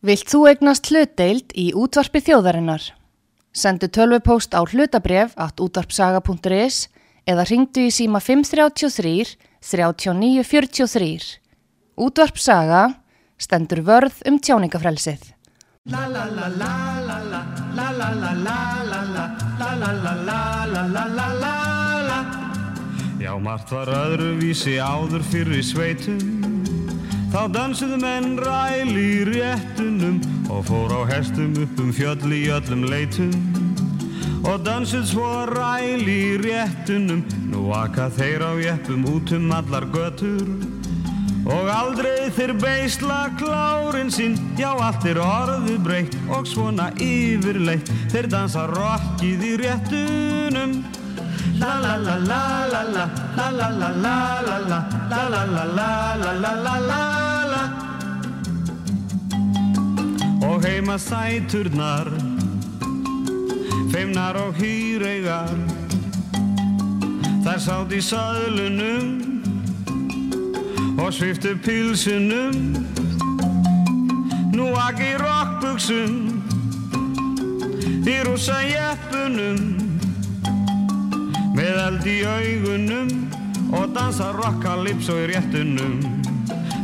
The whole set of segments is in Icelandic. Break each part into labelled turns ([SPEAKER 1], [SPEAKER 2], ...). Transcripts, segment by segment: [SPEAKER 1] Vilt þú egnast hlutdeild í útvarpi þjóðarinnar? Sendu tölvupóst á hlutabref at útvarpsaga.is eða ringdu í síma 533 3943. Útvarpsaga stendur vörð um tjáningafrelsið.
[SPEAKER 2] Já, margt var öðruvísi áður fyrir sveitum Þá dansuðu menn ræli í réttunum Og fór á hestum upp um fjöll í öllum leitum Og dansuð svo ræli í réttunum Nú aka þeir á jeppum út um allar götur Og aldrei þeir beisla klárin sín Já, allt er orðið breytt og svona yfirleitt Þeir dansa rockið í réttunum La la la la la la la la la la la la la la la la la la la la Og heima sæturnar Feimnar og hýreigar Þær sátt í saðlunum og sviftu pilsunum Nú aki rockbuxum í rúsa jeppunum með eld í augunum og dansa rockalips og í réttunum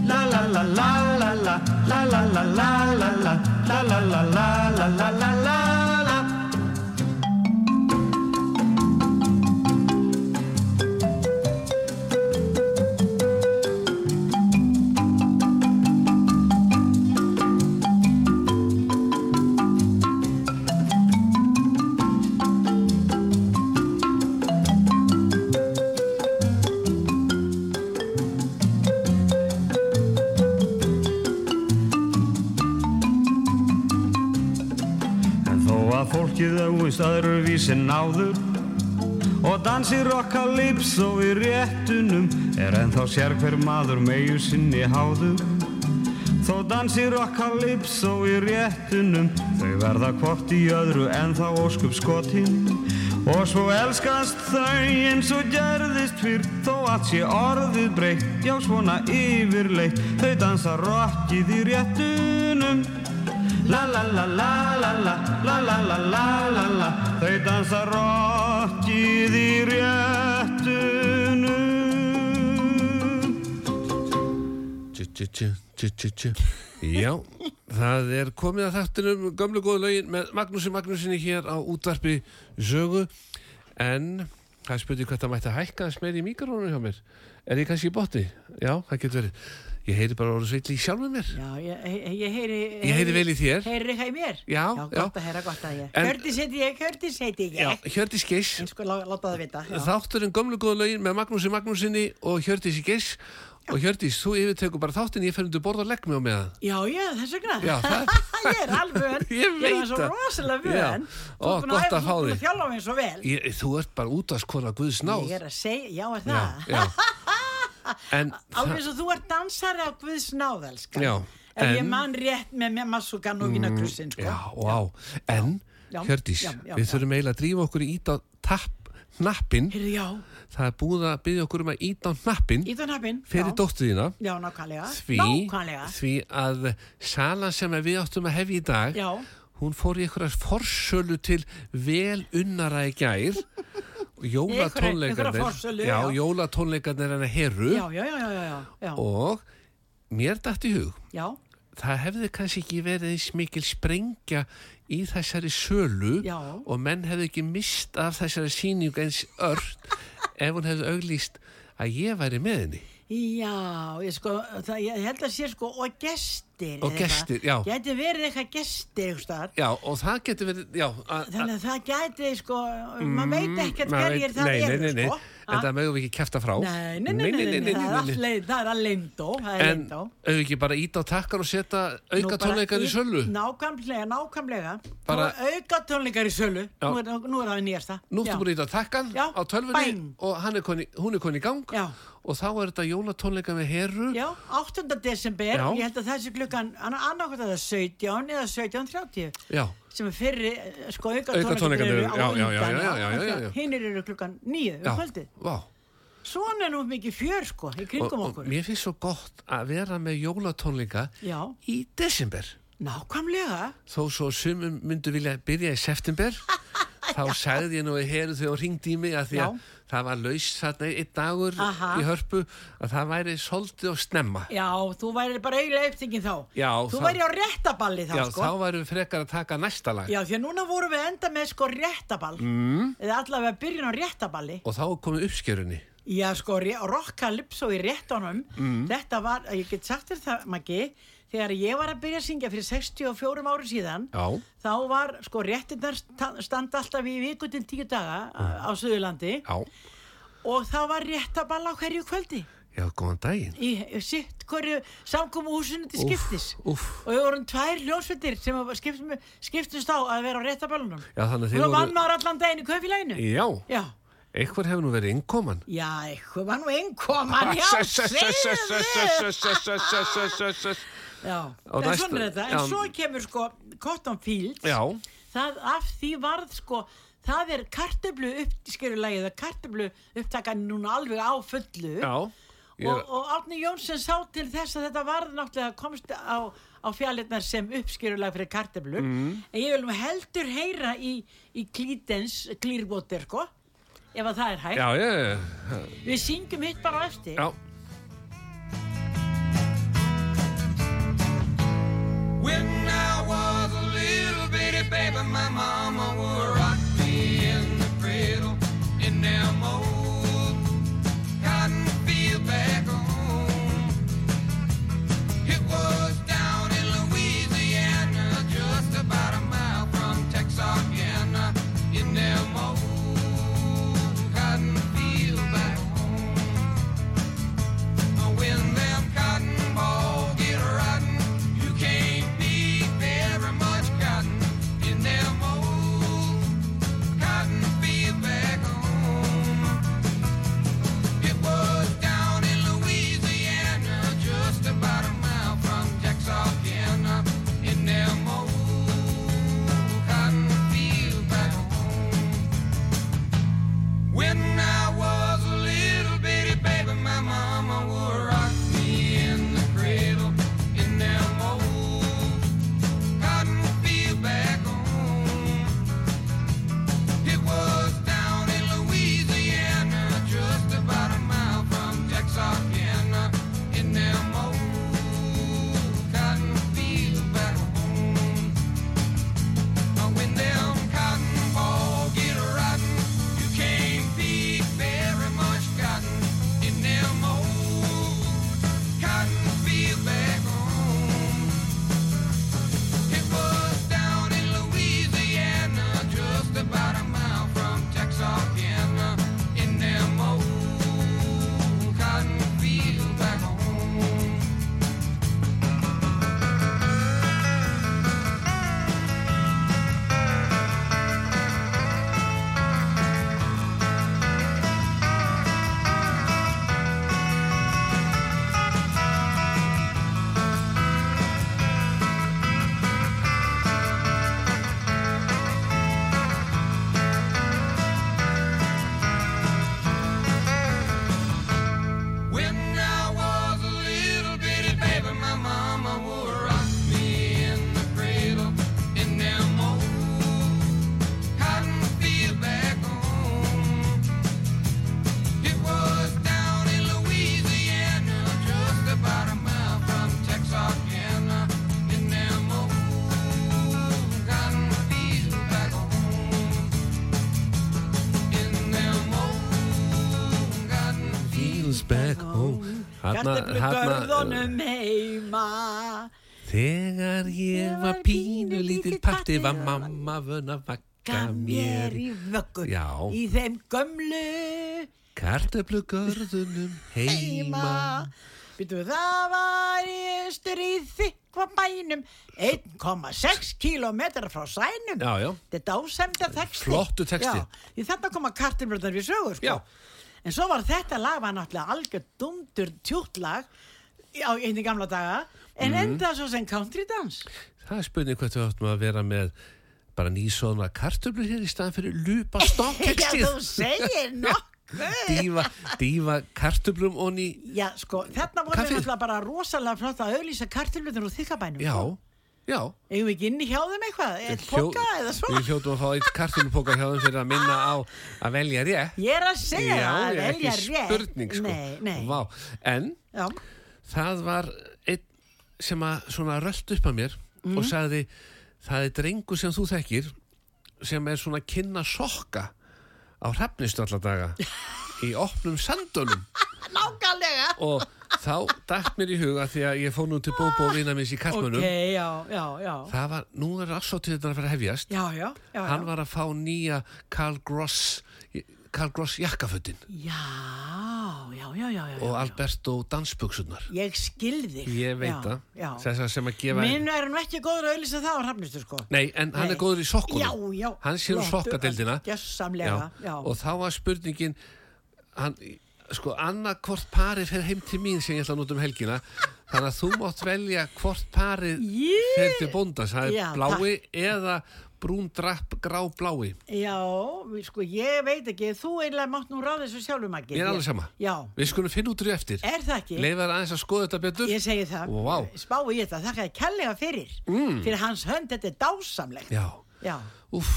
[SPEAKER 2] La la la la la la la la la la la la la la la la la la la la la En þó að fólkið auðvist öðruvísi náður Og dansi rockalips og í réttunum Er ennþá sér hver maður meiu sinni háður Þó dansi rockalips og í réttunum Þau verða hvort í öðru ennþá óskup skotin Og svo elskast þau eins og gerðist fyrr Þó allt sé orðið breytt, já svona yfirleitt Þau dansa rockið í réttunum La la la la la la la la la la la la Þau dansa rockið í réttunum
[SPEAKER 3] Tjú, tjú, tjú, tjú, tjú, tjú. Já, það er komið að þáttunum gömlu góðu lögin með Magnúsi Magnúsinni hér á útvarpi sögu en það spurði hvað það mætti að hækka þess meir í mikrónu hjá mér er ég kannski í botni? Já, það getur verið ég heyri bara orðu sveitli í sjálfum mér
[SPEAKER 4] Já, ég, ég, ég heyri
[SPEAKER 3] Ég heyri vel í þér.
[SPEAKER 4] Heyrir eitthvað í mér?
[SPEAKER 3] Já, já.
[SPEAKER 4] gott að heyra, gott að ég
[SPEAKER 3] En-
[SPEAKER 4] Hjördis heiti ég, Hjördis heiti ég
[SPEAKER 3] Já, Hjördís Geiss
[SPEAKER 4] En sko, lá, láta það vita já.
[SPEAKER 3] þátturinn gömlu góðu lögin með Magnúsi Magnúsinni og Hjördísi Geiss og Hjördís, þú yfirtekur bara þáttinn ég fer undir borð og legg mig á meðan
[SPEAKER 4] já, já, þess vegna
[SPEAKER 3] Já, það-
[SPEAKER 4] Ég er alveg vön
[SPEAKER 3] Ég
[SPEAKER 4] Ég
[SPEAKER 3] veit
[SPEAKER 4] er svo
[SPEAKER 3] það.
[SPEAKER 4] rosalega
[SPEAKER 3] Já.
[SPEAKER 4] vön
[SPEAKER 3] Ó, gott að fá
[SPEAKER 4] Þú
[SPEAKER 3] þig.
[SPEAKER 4] er þjálfa mig svo vel
[SPEAKER 3] Ég, þú ert bara út að skora Guðs náð.
[SPEAKER 4] Ég er að segja, já, er það
[SPEAKER 3] Já, já. En
[SPEAKER 4] Alveg svo þú ert dansari á Guðs náðelska
[SPEAKER 3] Já,
[SPEAKER 4] Ef ég
[SPEAKER 3] en- Mm,
[SPEAKER 4] man rétt með með massugan og vina krussin, sko
[SPEAKER 3] Já, vá. En,
[SPEAKER 4] Já,
[SPEAKER 3] Hjördís,
[SPEAKER 4] já, já,
[SPEAKER 3] við
[SPEAKER 4] já.
[SPEAKER 3] þurfum eiginlega að drífa okkur í ít á tapp, hnappin.
[SPEAKER 4] Heyrðu, já,
[SPEAKER 3] Það er búið að byggja okkur um að ít á hnappin
[SPEAKER 4] í þann hafinn
[SPEAKER 3] fyrir dóttu þína.
[SPEAKER 4] Já, nákvæmlega
[SPEAKER 3] Því,
[SPEAKER 4] Nákvæmlega
[SPEAKER 3] því að salan sem að við áttum að hefja í dag,
[SPEAKER 4] Já.
[SPEAKER 3] hún fór í einhverja forsölu til vel unnara í gær.
[SPEAKER 4] einhverja
[SPEAKER 3] Jólatónleikarnir,
[SPEAKER 4] forsölu,
[SPEAKER 3] já,
[SPEAKER 4] já.
[SPEAKER 3] jólatónleikarnir hennar herru
[SPEAKER 4] Já, já, já, já, já, já,
[SPEAKER 3] og mér dætt í hug
[SPEAKER 4] já.
[SPEAKER 3] það hefði kannski ekki verið eins mikil sprengja í þessari sölu
[SPEAKER 4] Já.
[SPEAKER 3] og menn hefði ekki mist af þessari síningu eins ört ef hún hefði auglýst að ég væri með henni
[SPEAKER 4] Já, ég sko, það, ég held að sé sko og gestir
[SPEAKER 3] Og gestir, já.
[SPEAKER 4] Gæti verið eitthvað gestir, eitthvað staðar.
[SPEAKER 3] já og það getur verið já, a- a-
[SPEAKER 4] Þannig að það gæti sko, maður veit ekkert
[SPEAKER 3] maður
[SPEAKER 4] hverjir
[SPEAKER 3] veit-
[SPEAKER 4] það
[SPEAKER 3] nei,
[SPEAKER 4] eru
[SPEAKER 3] nei, nei, nei,
[SPEAKER 4] sko
[SPEAKER 3] en það mögum við ekki kæfta frá
[SPEAKER 4] Nei, nei, nei, nei, nei, nei, það er allt
[SPEAKER 3] nei.
[SPEAKER 4] leið- það er allt leindó, það er
[SPEAKER 3] en
[SPEAKER 4] leindó
[SPEAKER 3] auðvitað ekki bara ít á takkar og setja
[SPEAKER 4] Nú
[SPEAKER 3] auka
[SPEAKER 4] bara
[SPEAKER 3] tónleikar í sölu
[SPEAKER 4] Nákvæmlega, nákvæmlega
[SPEAKER 3] Bara-
[SPEAKER 4] Nú er auka tónleikar í sölu
[SPEAKER 3] Já.
[SPEAKER 4] Nú er, nú er það nýjasta
[SPEAKER 3] Nú
[SPEAKER 4] Já.
[SPEAKER 3] ertu búin að íta takkan
[SPEAKER 4] Já,
[SPEAKER 3] á tölvunni
[SPEAKER 4] bæn.
[SPEAKER 3] og hann er koni, hún er koni í gang
[SPEAKER 4] Já.
[SPEAKER 3] og þá er þetta jólatónleika með herru
[SPEAKER 4] Já, 8. desember,
[SPEAKER 3] Já.
[SPEAKER 4] ég held að þessi klukkan annarkvæmt að það er 17 eða 17.30
[SPEAKER 3] Já.
[SPEAKER 4] sem er fyrri eh, sko auka
[SPEAKER 3] Auka tónleikarnir
[SPEAKER 4] tónleikarnir
[SPEAKER 3] eru- já, já, já, já, já, já, já, já.
[SPEAKER 4] hinnir eru klukkan nýju um
[SPEAKER 3] Já,
[SPEAKER 4] kvöldið
[SPEAKER 3] vá.
[SPEAKER 4] svona er nú mikið fjör sko í
[SPEAKER 3] Og,
[SPEAKER 4] kringum
[SPEAKER 3] og
[SPEAKER 4] okkur
[SPEAKER 3] mér finnst svo gott að vera með jólatónleika
[SPEAKER 4] já,
[SPEAKER 3] í desember
[SPEAKER 4] Nákvæmlega.
[SPEAKER 3] þó svo sumum myndu vilja byrja í september þá sagði ég nú í heru þegar hún ringdi í mig að því að
[SPEAKER 4] Já.
[SPEAKER 3] það var laus þarna einn dagur
[SPEAKER 4] Aha.
[SPEAKER 3] í hörpu að það væri soldið og snemma
[SPEAKER 4] Já, þú væri bara eiginlega upptingin þá.
[SPEAKER 3] Já,
[SPEAKER 4] Þú
[SPEAKER 3] þá-
[SPEAKER 4] væri á réttaballið þá,
[SPEAKER 3] já,
[SPEAKER 4] sko.
[SPEAKER 3] þá varum við frekar að taka næsta lag
[SPEAKER 4] Já, því að núna vorum við enda með sko réttaball. Mm. Eða allavega byrjun á réttaballi.
[SPEAKER 3] og þá komið uppskjörunni
[SPEAKER 4] Já, sko, ré- Rockalypso í réttanum. Mm. Þetta var, ég get sagt þér það, Maggi, þegar ég var að byrja að syngja fyrir 64 ári síðan,
[SPEAKER 3] já,
[SPEAKER 4] þá var, sko, réttinnar sta- standa alltaf í viku til tíu daga á, á Suðurlandi
[SPEAKER 3] Mm. já,
[SPEAKER 4] og það var réttaball á hverju kvöldi.
[SPEAKER 3] já, góðan daginn
[SPEAKER 4] í sitt hverju samkomu húsinu til skiptis
[SPEAKER 3] úff.
[SPEAKER 4] og við vorum tvær hljónsveitir sem að skiptum, skiptust á að vera á réttaböllunum
[SPEAKER 3] Já, þannig að
[SPEAKER 4] og
[SPEAKER 3] þið
[SPEAKER 4] það
[SPEAKER 3] voru-
[SPEAKER 4] vann maður allan daginn í kaufélaginu
[SPEAKER 3] já,
[SPEAKER 4] já,
[SPEAKER 3] eitthvað hefur nú verið innkoman
[SPEAKER 4] já, eitthvað var nú einkoman já, segðu já,
[SPEAKER 3] Á
[SPEAKER 4] en
[SPEAKER 3] næsta-
[SPEAKER 4] svona er þetta en
[SPEAKER 3] já.
[SPEAKER 4] svo kemur sko Cotton Fields
[SPEAKER 3] já,
[SPEAKER 4] það af því varð sko það er kartöflu uppskerulagið það kartöflu upptaka núna alveg á fullu
[SPEAKER 3] já Ég
[SPEAKER 4] og,
[SPEAKER 3] er-
[SPEAKER 4] og Árni Jónsson sá til þess að þetta varð náttúrulega komst á, á fjallinnar sem uppskerulag fyrir karteflur
[SPEAKER 3] Mm.
[SPEAKER 4] en ég vil nú heldur heyra í, í Klítens Clearwater sko ef að það er hægt
[SPEAKER 3] já, já, já,
[SPEAKER 4] við syngjum hitt bara á eftir
[SPEAKER 3] já
[SPEAKER 5] When I was a little bitty baby, my mama would rock me in the cradle in them old cotton field back home. It was down in Louisiana, just about a mile from Texarkana, in them old cotton field back home. When them cotton balls get rotten, you can't beat very much cotton in them old cotton field back home. It was down in Louisiana, just about a mile from Texarkana, in them old cotton field back home. When I was a little bitty baby, my mama would rock me in the cradle in them old cotton field back home. It was down in Louisiana, just about a mile from Texarkana, in them old cotton field back home. When them cotton balls get rotten, you can't pick very much cotton in them old cotton field back home. It was down in Louisiana, just about a mile from Texarkana, in them old cotton field back home. When I was a little bitty baby, my mama would rock me in the cradle in them old cotton field back home. It was down in Louisiana, just about a mile from Texarkana, in them old cotton field back home. In them old cotton
[SPEAKER 3] Feels back home Þarna-
[SPEAKER 4] kartöflu
[SPEAKER 3] þarna-
[SPEAKER 4] görðunum heima
[SPEAKER 3] Þegar ég var pínu lítill patti var mamma vön að vakka
[SPEAKER 4] gaf
[SPEAKER 3] mér í
[SPEAKER 4] vöggu
[SPEAKER 3] Já.
[SPEAKER 4] í þeim gömlu
[SPEAKER 3] kartöflugörðunum heima.
[SPEAKER 4] heima Býtu, það var í austur í þykva bænum 1,6 kílometra frá sænum
[SPEAKER 3] Já, já.
[SPEAKER 4] Þetta ásemda texti
[SPEAKER 3] Flottur texti.
[SPEAKER 4] Já, í þetta koma kartinbröndar við sögur sko.
[SPEAKER 3] Já.
[SPEAKER 4] En svo var þetta lag var náttúrulega algjör dundur tjútlag á einni gamla daga en
[SPEAKER 3] Mhm.
[SPEAKER 4] mm. enda svo sem country dans
[SPEAKER 3] Það er spurning hvað við áttum að vera með bara nýsóðna kartöflur hér í staðan fyrir lupa
[SPEAKER 4] Já, þú
[SPEAKER 3] stokkextið.
[SPEAKER 4] segir nokkuð
[SPEAKER 3] Dýfa, dýfa kartöflum onni.
[SPEAKER 4] Já, sko, þarna voru
[SPEAKER 3] Kaffið.
[SPEAKER 4] náttúrulega bara rosalega flott að auðlýsa kartinbröndar úr þykka bænum
[SPEAKER 3] Já,
[SPEAKER 4] sko.
[SPEAKER 3] Já,
[SPEAKER 4] Eigum við ekki inni hjá þeim eitthvað? Eitt poka eða svo?
[SPEAKER 3] Við hljótum að fá eitt kartunupóka hjá þeim fyrir að minna á að velja rétt.
[SPEAKER 4] Ég er að segja
[SPEAKER 3] Já,
[SPEAKER 4] það, að
[SPEAKER 3] er ekki
[SPEAKER 4] velja rétt.
[SPEAKER 3] spurning sko.
[SPEAKER 4] Nei, nei.
[SPEAKER 3] Vá. En
[SPEAKER 4] Já,
[SPEAKER 3] það var einn sem að svona rölt upp að mér
[SPEAKER 4] Mhm.
[SPEAKER 3] og sagði það er drengu sem þú þekkir sem er svona að kynna sokka á hrafnistu alla daga í opnum sandunum
[SPEAKER 4] nákvæmlega.
[SPEAKER 3] og þá dætt mér í huga því að ég fór nú til Bóbo og vina minns í
[SPEAKER 4] Ok,
[SPEAKER 3] kallmönnum
[SPEAKER 4] já, já, já.
[SPEAKER 3] það var, nú er afsótið þetta að fara að hefjast
[SPEAKER 4] Já, já, já.
[SPEAKER 3] hann
[SPEAKER 4] já.
[SPEAKER 3] var að fá nýja Karl Gross Karl Gross jakkafötin
[SPEAKER 4] Já, já, já, já, já.
[SPEAKER 3] og Alberto dansbuksunar
[SPEAKER 4] Ég skil þig.
[SPEAKER 3] ég veit
[SPEAKER 4] Já,
[SPEAKER 3] það,
[SPEAKER 4] Já,
[SPEAKER 3] þessar sem að gefa
[SPEAKER 4] Minn er hann ekki góður að auðvitað það á hrafnistu sko.
[SPEAKER 3] nei, en hann
[SPEAKER 4] Nei.
[SPEAKER 3] er góður í
[SPEAKER 4] Já,
[SPEAKER 3] sokkunum
[SPEAKER 4] já.
[SPEAKER 3] hann sér um sokkadeildina
[SPEAKER 4] Gjössamlega, já.
[SPEAKER 3] og þá var spurningin hann, sko, annað hvort parið fer heim til mín sem ég ætla að nota um helgina þannig að þú mátt velja hvort parið
[SPEAKER 4] Ég-
[SPEAKER 3] fer til bóndans, það er
[SPEAKER 4] Já,
[SPEAKER 3] blái eða brún drapp grá blái
[SPEAKER 4] Já, við- sko, ég veit ekki, þú einlega mátt nú ráða þessu sjálfum ekki.
[SPEAKER 3] Ég er alveg sama.
[SPEAKER 4] Já,
[SPEAKER 3] við skulum finna út úr því eftir
[SPEAKER 4] er það ekki?
[SPEAKER 3] leifaður aðeins að skoða þetta betur
[SPEAKER 4] Ég segi það,
[SPEAKER 3] Vá.
[SPEAKER 4] spái ég það, þakka ég kellega fyrir, mm. fyrir hans hönd, þetta er dásamlegt.
[SPEAKER 3] já,
[SPEAKER 4] Já,
[SPEAKER 3] úff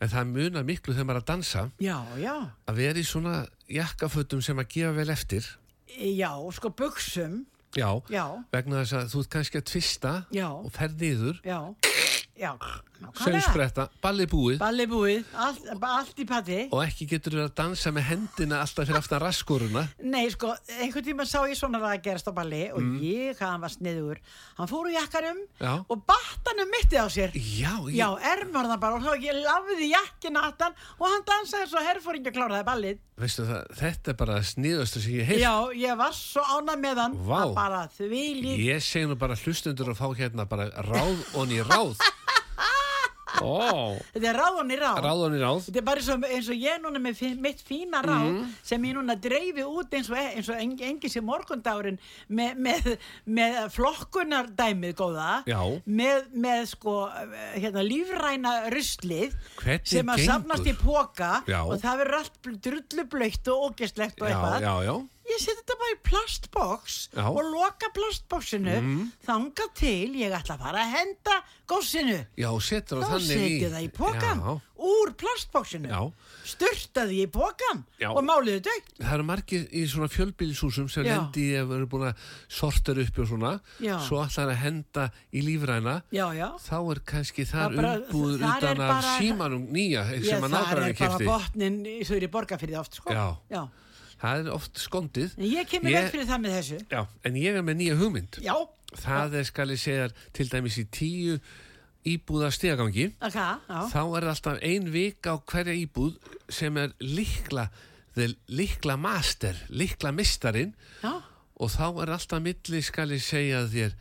[SPEAKER 3] en það munar miklu þegar maður er að dansa
[SPEAKER 4] já, já,
[SPEAKER 3] að vera í svona jakkafötum sem að gefa vel eftir
[SPEAKER 4] já, sko, buksum,
[SPEAKER 3] já,
[SPEAKER 4] já,
[SPEAKER 3] vegna þess að þú ert kannski að tvista
[SPEAKER 4] Já.
[SPEAKER 3] og ferð niður
[SPEAKER 4] já, já, nákvæmlega.
[SPEAKER 3] sögspretta, balli búið
[SPEAKER 4] Balli búið, allt, allt í patti.
[SPEAKER 3] og ekki getur verið að dansa með hendina alltaf fyrir aftan raskoruna
[SPEAKER 4] Nei, sko, einhvern tíma sá ég svona að gerast á balli og ég, hvað hann var sniður, hann fór úr jakkanum
[SPEAKER 3] Mm. Já.
[SPEAKER 4] og battanum mittið á sér.
[SPEAKER 3] já, ég,
[SPEAKER 4] Já, ermar það bara og þá ég lafði jakkin að hann og hann dansaði svo herfóringi að kláraði ballið.
[SPEAKER 3] veistu það, þetta er bara sniðastu sem ég heilt
[SPEAKER 4] Já, ég var svo ánað með hann,
[SPEAKER 3] Vá.
[SPEAKER 4] hann bara því lík.
[SPEAKER 3] ég segi nú bara hlustendur að fá hérna bara ráð onni ráð ó,
[SPEAKER 4] Þetta er ráðan í ráð.
[SPEAKER 3] ráð onni ráð Mhm.
[SPEAKER 4] Þetta er bara eins og, eins og ég núna með fi- mitt fína ráð sem ég núna dreifi út eins og, e- eins og en, engin sem morgundagurinn með, með, með flokkunardæmið góða,
[SPEAKER 3] Já.
[SPEAKER 4] með, með sko, eh, hérna, lífræna ruslið
[SPEAKER 3] Hvernig
[SPEAKER 4] sem að
[SPEAKER 3] gengur?
[SPEAKER 4] safnast í póka
[SPEAKER 3] Já.
[SPEAKER 4] og það verður allt bl- drullublautt og ógestlegt og
[SPEAKER 3] já,
[SPEAKER 4] eitthvað.
[SPEAKER 3] já, já,
[SPEAKER 4] Ég seti þetta bara í plastboks
[SPEAKER 3] Já. Mhm.
[SPEAKER 4] og loka plastboksinu þangað til ég ætla að fara að henda góssinu
[SPEAKER 3] já, setur það
[SPEAKER 4] þá
[SPEAKER 3] þannig
[SPEAKER 4] setið það í pokan
[SPEAKER 3] já,
[SPEAKER 4] úr plastbóksinu
[SPEAKER 3] Já.
[SPEAKER 4] sturtaði í pokan
[SPEAKER 3] Já.
[SPEAKER 4] og máliði dögt
[SPEAKER 3] það eru margir í svona fjölbílshúsum sem
[SPEAKER 4] Já.
[SPEAKER 3] lendi ef eru búin að sortir upp og svona,
[SPEAKER 4] Já.
[SPEAKER 3] svo ætlar að henda í lífræna,
[SPEAKER 4] já, já,
[SPEAKER 3] þá er kannski þar
[SPEAKER 4] Það bara-
[SPEAKER 3] umbúður
[SPEAKER 4] þar er
[SPEAKER 3] utan af
[SPEAKER 4] bara-
[SPEAKER 3] símanum nýja sem að
[SPEAKER 4] já það
[SPEAKER 3] nákvæmlega
[SPEAKER 4] er bara
[SPEAKER 3] kefti
[SPEAKER 4] botnin í sögri borgarfyrði oft sko.
[SPEAKER 3] Já.
[SPEAKER 4] Já.
[SPEAKER 3] það er oft skondið
[SPEAKER 4] en ég kemur
[SPEAKER 3] Ég-
[SPEAKER 4] ég... fyrir það með þessu
[SPEAKER 3] Já, en ég er með nýja hugmynd
[SPEAKER 4] já,
[SPEAKER 3] það er skal ég segja þér, til dæmis í tíu íbúða stegagangi
[SPEAKER 4] ok, já
[SPEAKER 3] þá er alltaf ein vika á hverja íbúð sem er líkla þeir líkla master, líkla mistarinn
[SPEAKER 4] já,
[SPEAKER 3] og þá er alltaf milli skal ég segja þér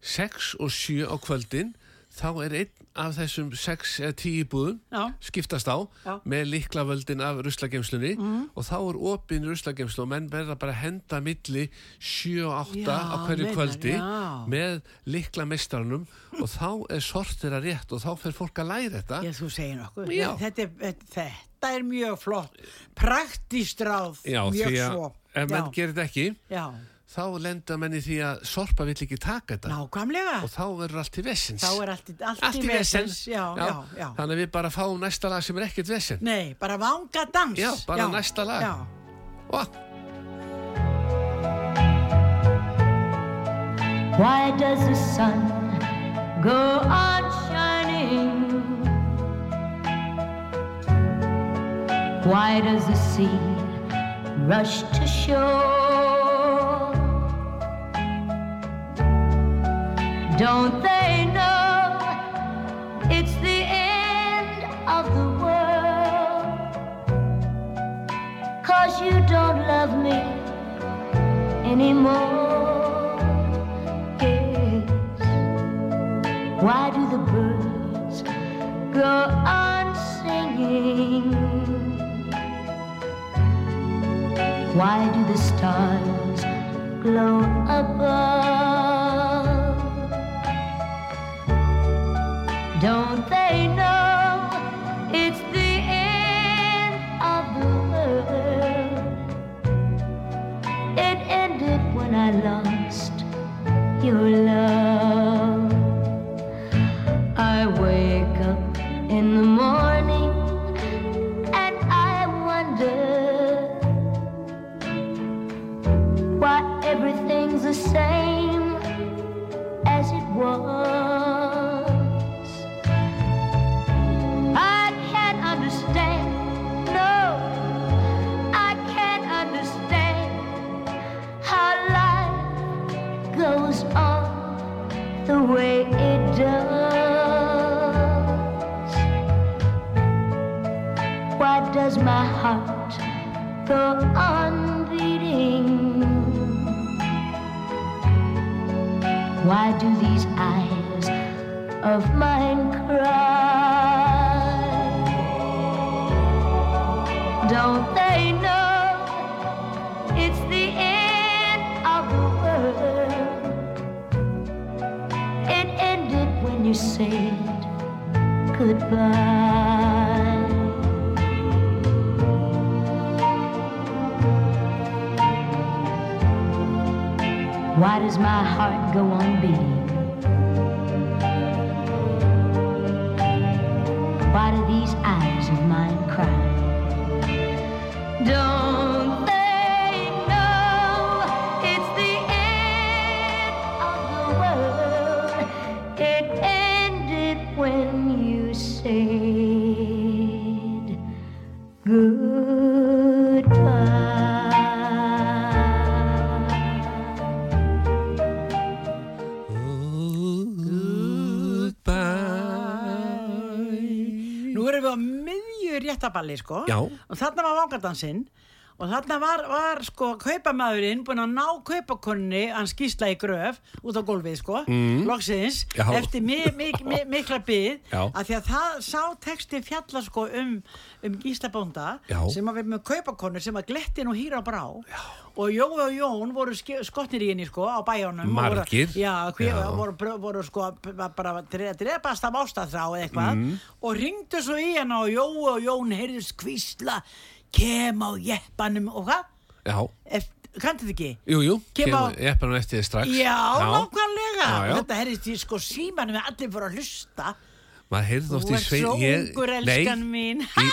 [SPEAKER 3] 6 og 7 á kvöldin þá er einn af þessum 6 eða 10 búðum
[SPEAKER 4] já,
[SPEAKER 3] skiptast á
[SPEAKER 4] Já. Mhm.
[SPEAKER 3] með líklavöldin af ruslagemslunni og þá er opin ruslagemslu og menn verða bara að henda milli 7 og 8
[SPEAKER 4] Já,
[SPEAKER 3] á hverju
[SPEAKER 4] meinar,
[SPEAKER 3] kvöldi
[SPEAKER 4] já.
[SPEAKER 3] með líklamestarnum og þá er sortir að rétt og þá fer fólk að læra þetta
[SPEAKER 4] ég þú segir nokkuð
[SPEAKER 3] Já.
[SPEAKER 4] þetta er, þetta- þetta er mjög flott praktíst ráð
[SPEAKER 3] Já,
[SPEAKER 4] mjög
[SPEAKER 3] því að
[SPEAKER 4] svo
[SPEAKER 3] ef menn
[SPEAKER 4] já,
[SPEAKER 3] gerir þetta ekki
[SPEAKER 4] já,
[SPEAKER 3] þá lenda menn í því að sorpa vill ekki taka þetta
[SPEAKER 4] nákvæmlega
[SPEAKER 3] og þá verður allt til vessins
[SPEAKER 4] þá er allt, í- allt,
[SPEAKER 3] allt í vesens
[SPEAKER 4] já, já, já,
[SPEAKER 3] þannig að við bara fáum næsta lag sem er ekkert vesen
[SPEAKER 4] nei, bara vanga dans
[SPEAKER 3] Já, bara næsta lag.
[SPEAKER 4] já.
[SPEAKER 3] og
[SPEAKER 6] Why does the sun go on shining? Why does the sea rush to shore? Don't they know it's the end of the world? Cause you don't love me anymore is why do the birds go on singing? Why do the stars glow above? Don't they know it's the end of the world? It ended when I lost your love. I wake up in the morning and I wonder why everything's the same as it was. I can't understand, no, I can't understand how life goes on the way it does. Why does my heart go on beating? Why do these eyes of mine cry? Don't they know it's the end of the world? It ended when you said goodbye. Why does my heart go on beating? Why do these eyes of mine cry? Don't they know it's the end of the world? It ended when you said goodbye.
[SPEAKER 3] Goodbye
[SPEAKER 4] Nú erum við á miðju réttaballi sko
[SPEAKER 3] Já.
[SPEAKER 4] og þarna var vangadansinn og þarna var, var sko kaupamaðurinn búinn að ná kaupakonni hans skýsla í gröf út á gólfið sko mm. loksins
[SPEAKER 3] Já.
[SPEAKER 4] eftir mi, mi, mi, mikla byð
[SPEAKER 3] Já.
[SPEAKER 4] að því að það sá texti fjalla sko um, um Gísla Bónda
[SPEAKER 3] Já.
[SPEAKER 4] sem að við með kaupakonur sem að gletti nú hýra brá Já. og Jói og Jón voru ske- skotnir í henni sko á bæjónum og
[SPEAKER 3] Margir.
[SPEAKER 4] voru, Já, hver,
[SPEAKER 3] Já.
[SPEAKER 4] voru, voru, voru sko b- bara að dre- drepast af ástæðrá eða eitthvað
[SPEAKER 3] Mm.
[SPEAKER 4] og ringdu svo í hana og Jói og Jón heyrðist kvísla kem á jeppanum og hvað?
[SPEAKER 3] Já,
[SPEAKER 4] Eft- Kanntu þetta ekki?
[SPEAKER 3] jú, jú,
[SPEAKER 4] Kem á-
[SPEAKER 3] kemur ég er bara eftir þið strax
[SPEAKER 4] Já, nákvæmlega
[SPEAKER 3] Já, já.
[SPEAKER 4] og þetta heyrðist í sko símanum við allir voru að hlusta
[SPEAKER 3] Maður heyrði oft
[SPEAKER 4] Þú
[SPEAKER 3] í
[SPEAKER 4] ert
[SPEAKER 3] sveit
[SPEAKER 4] svo
[SPEAKER 3] ég-
[SPEAKER 4] ungur,
[SPEAKER 3] Nei,
[SPEAKER 4] elskan mín.
[SPEAKER 3] Í,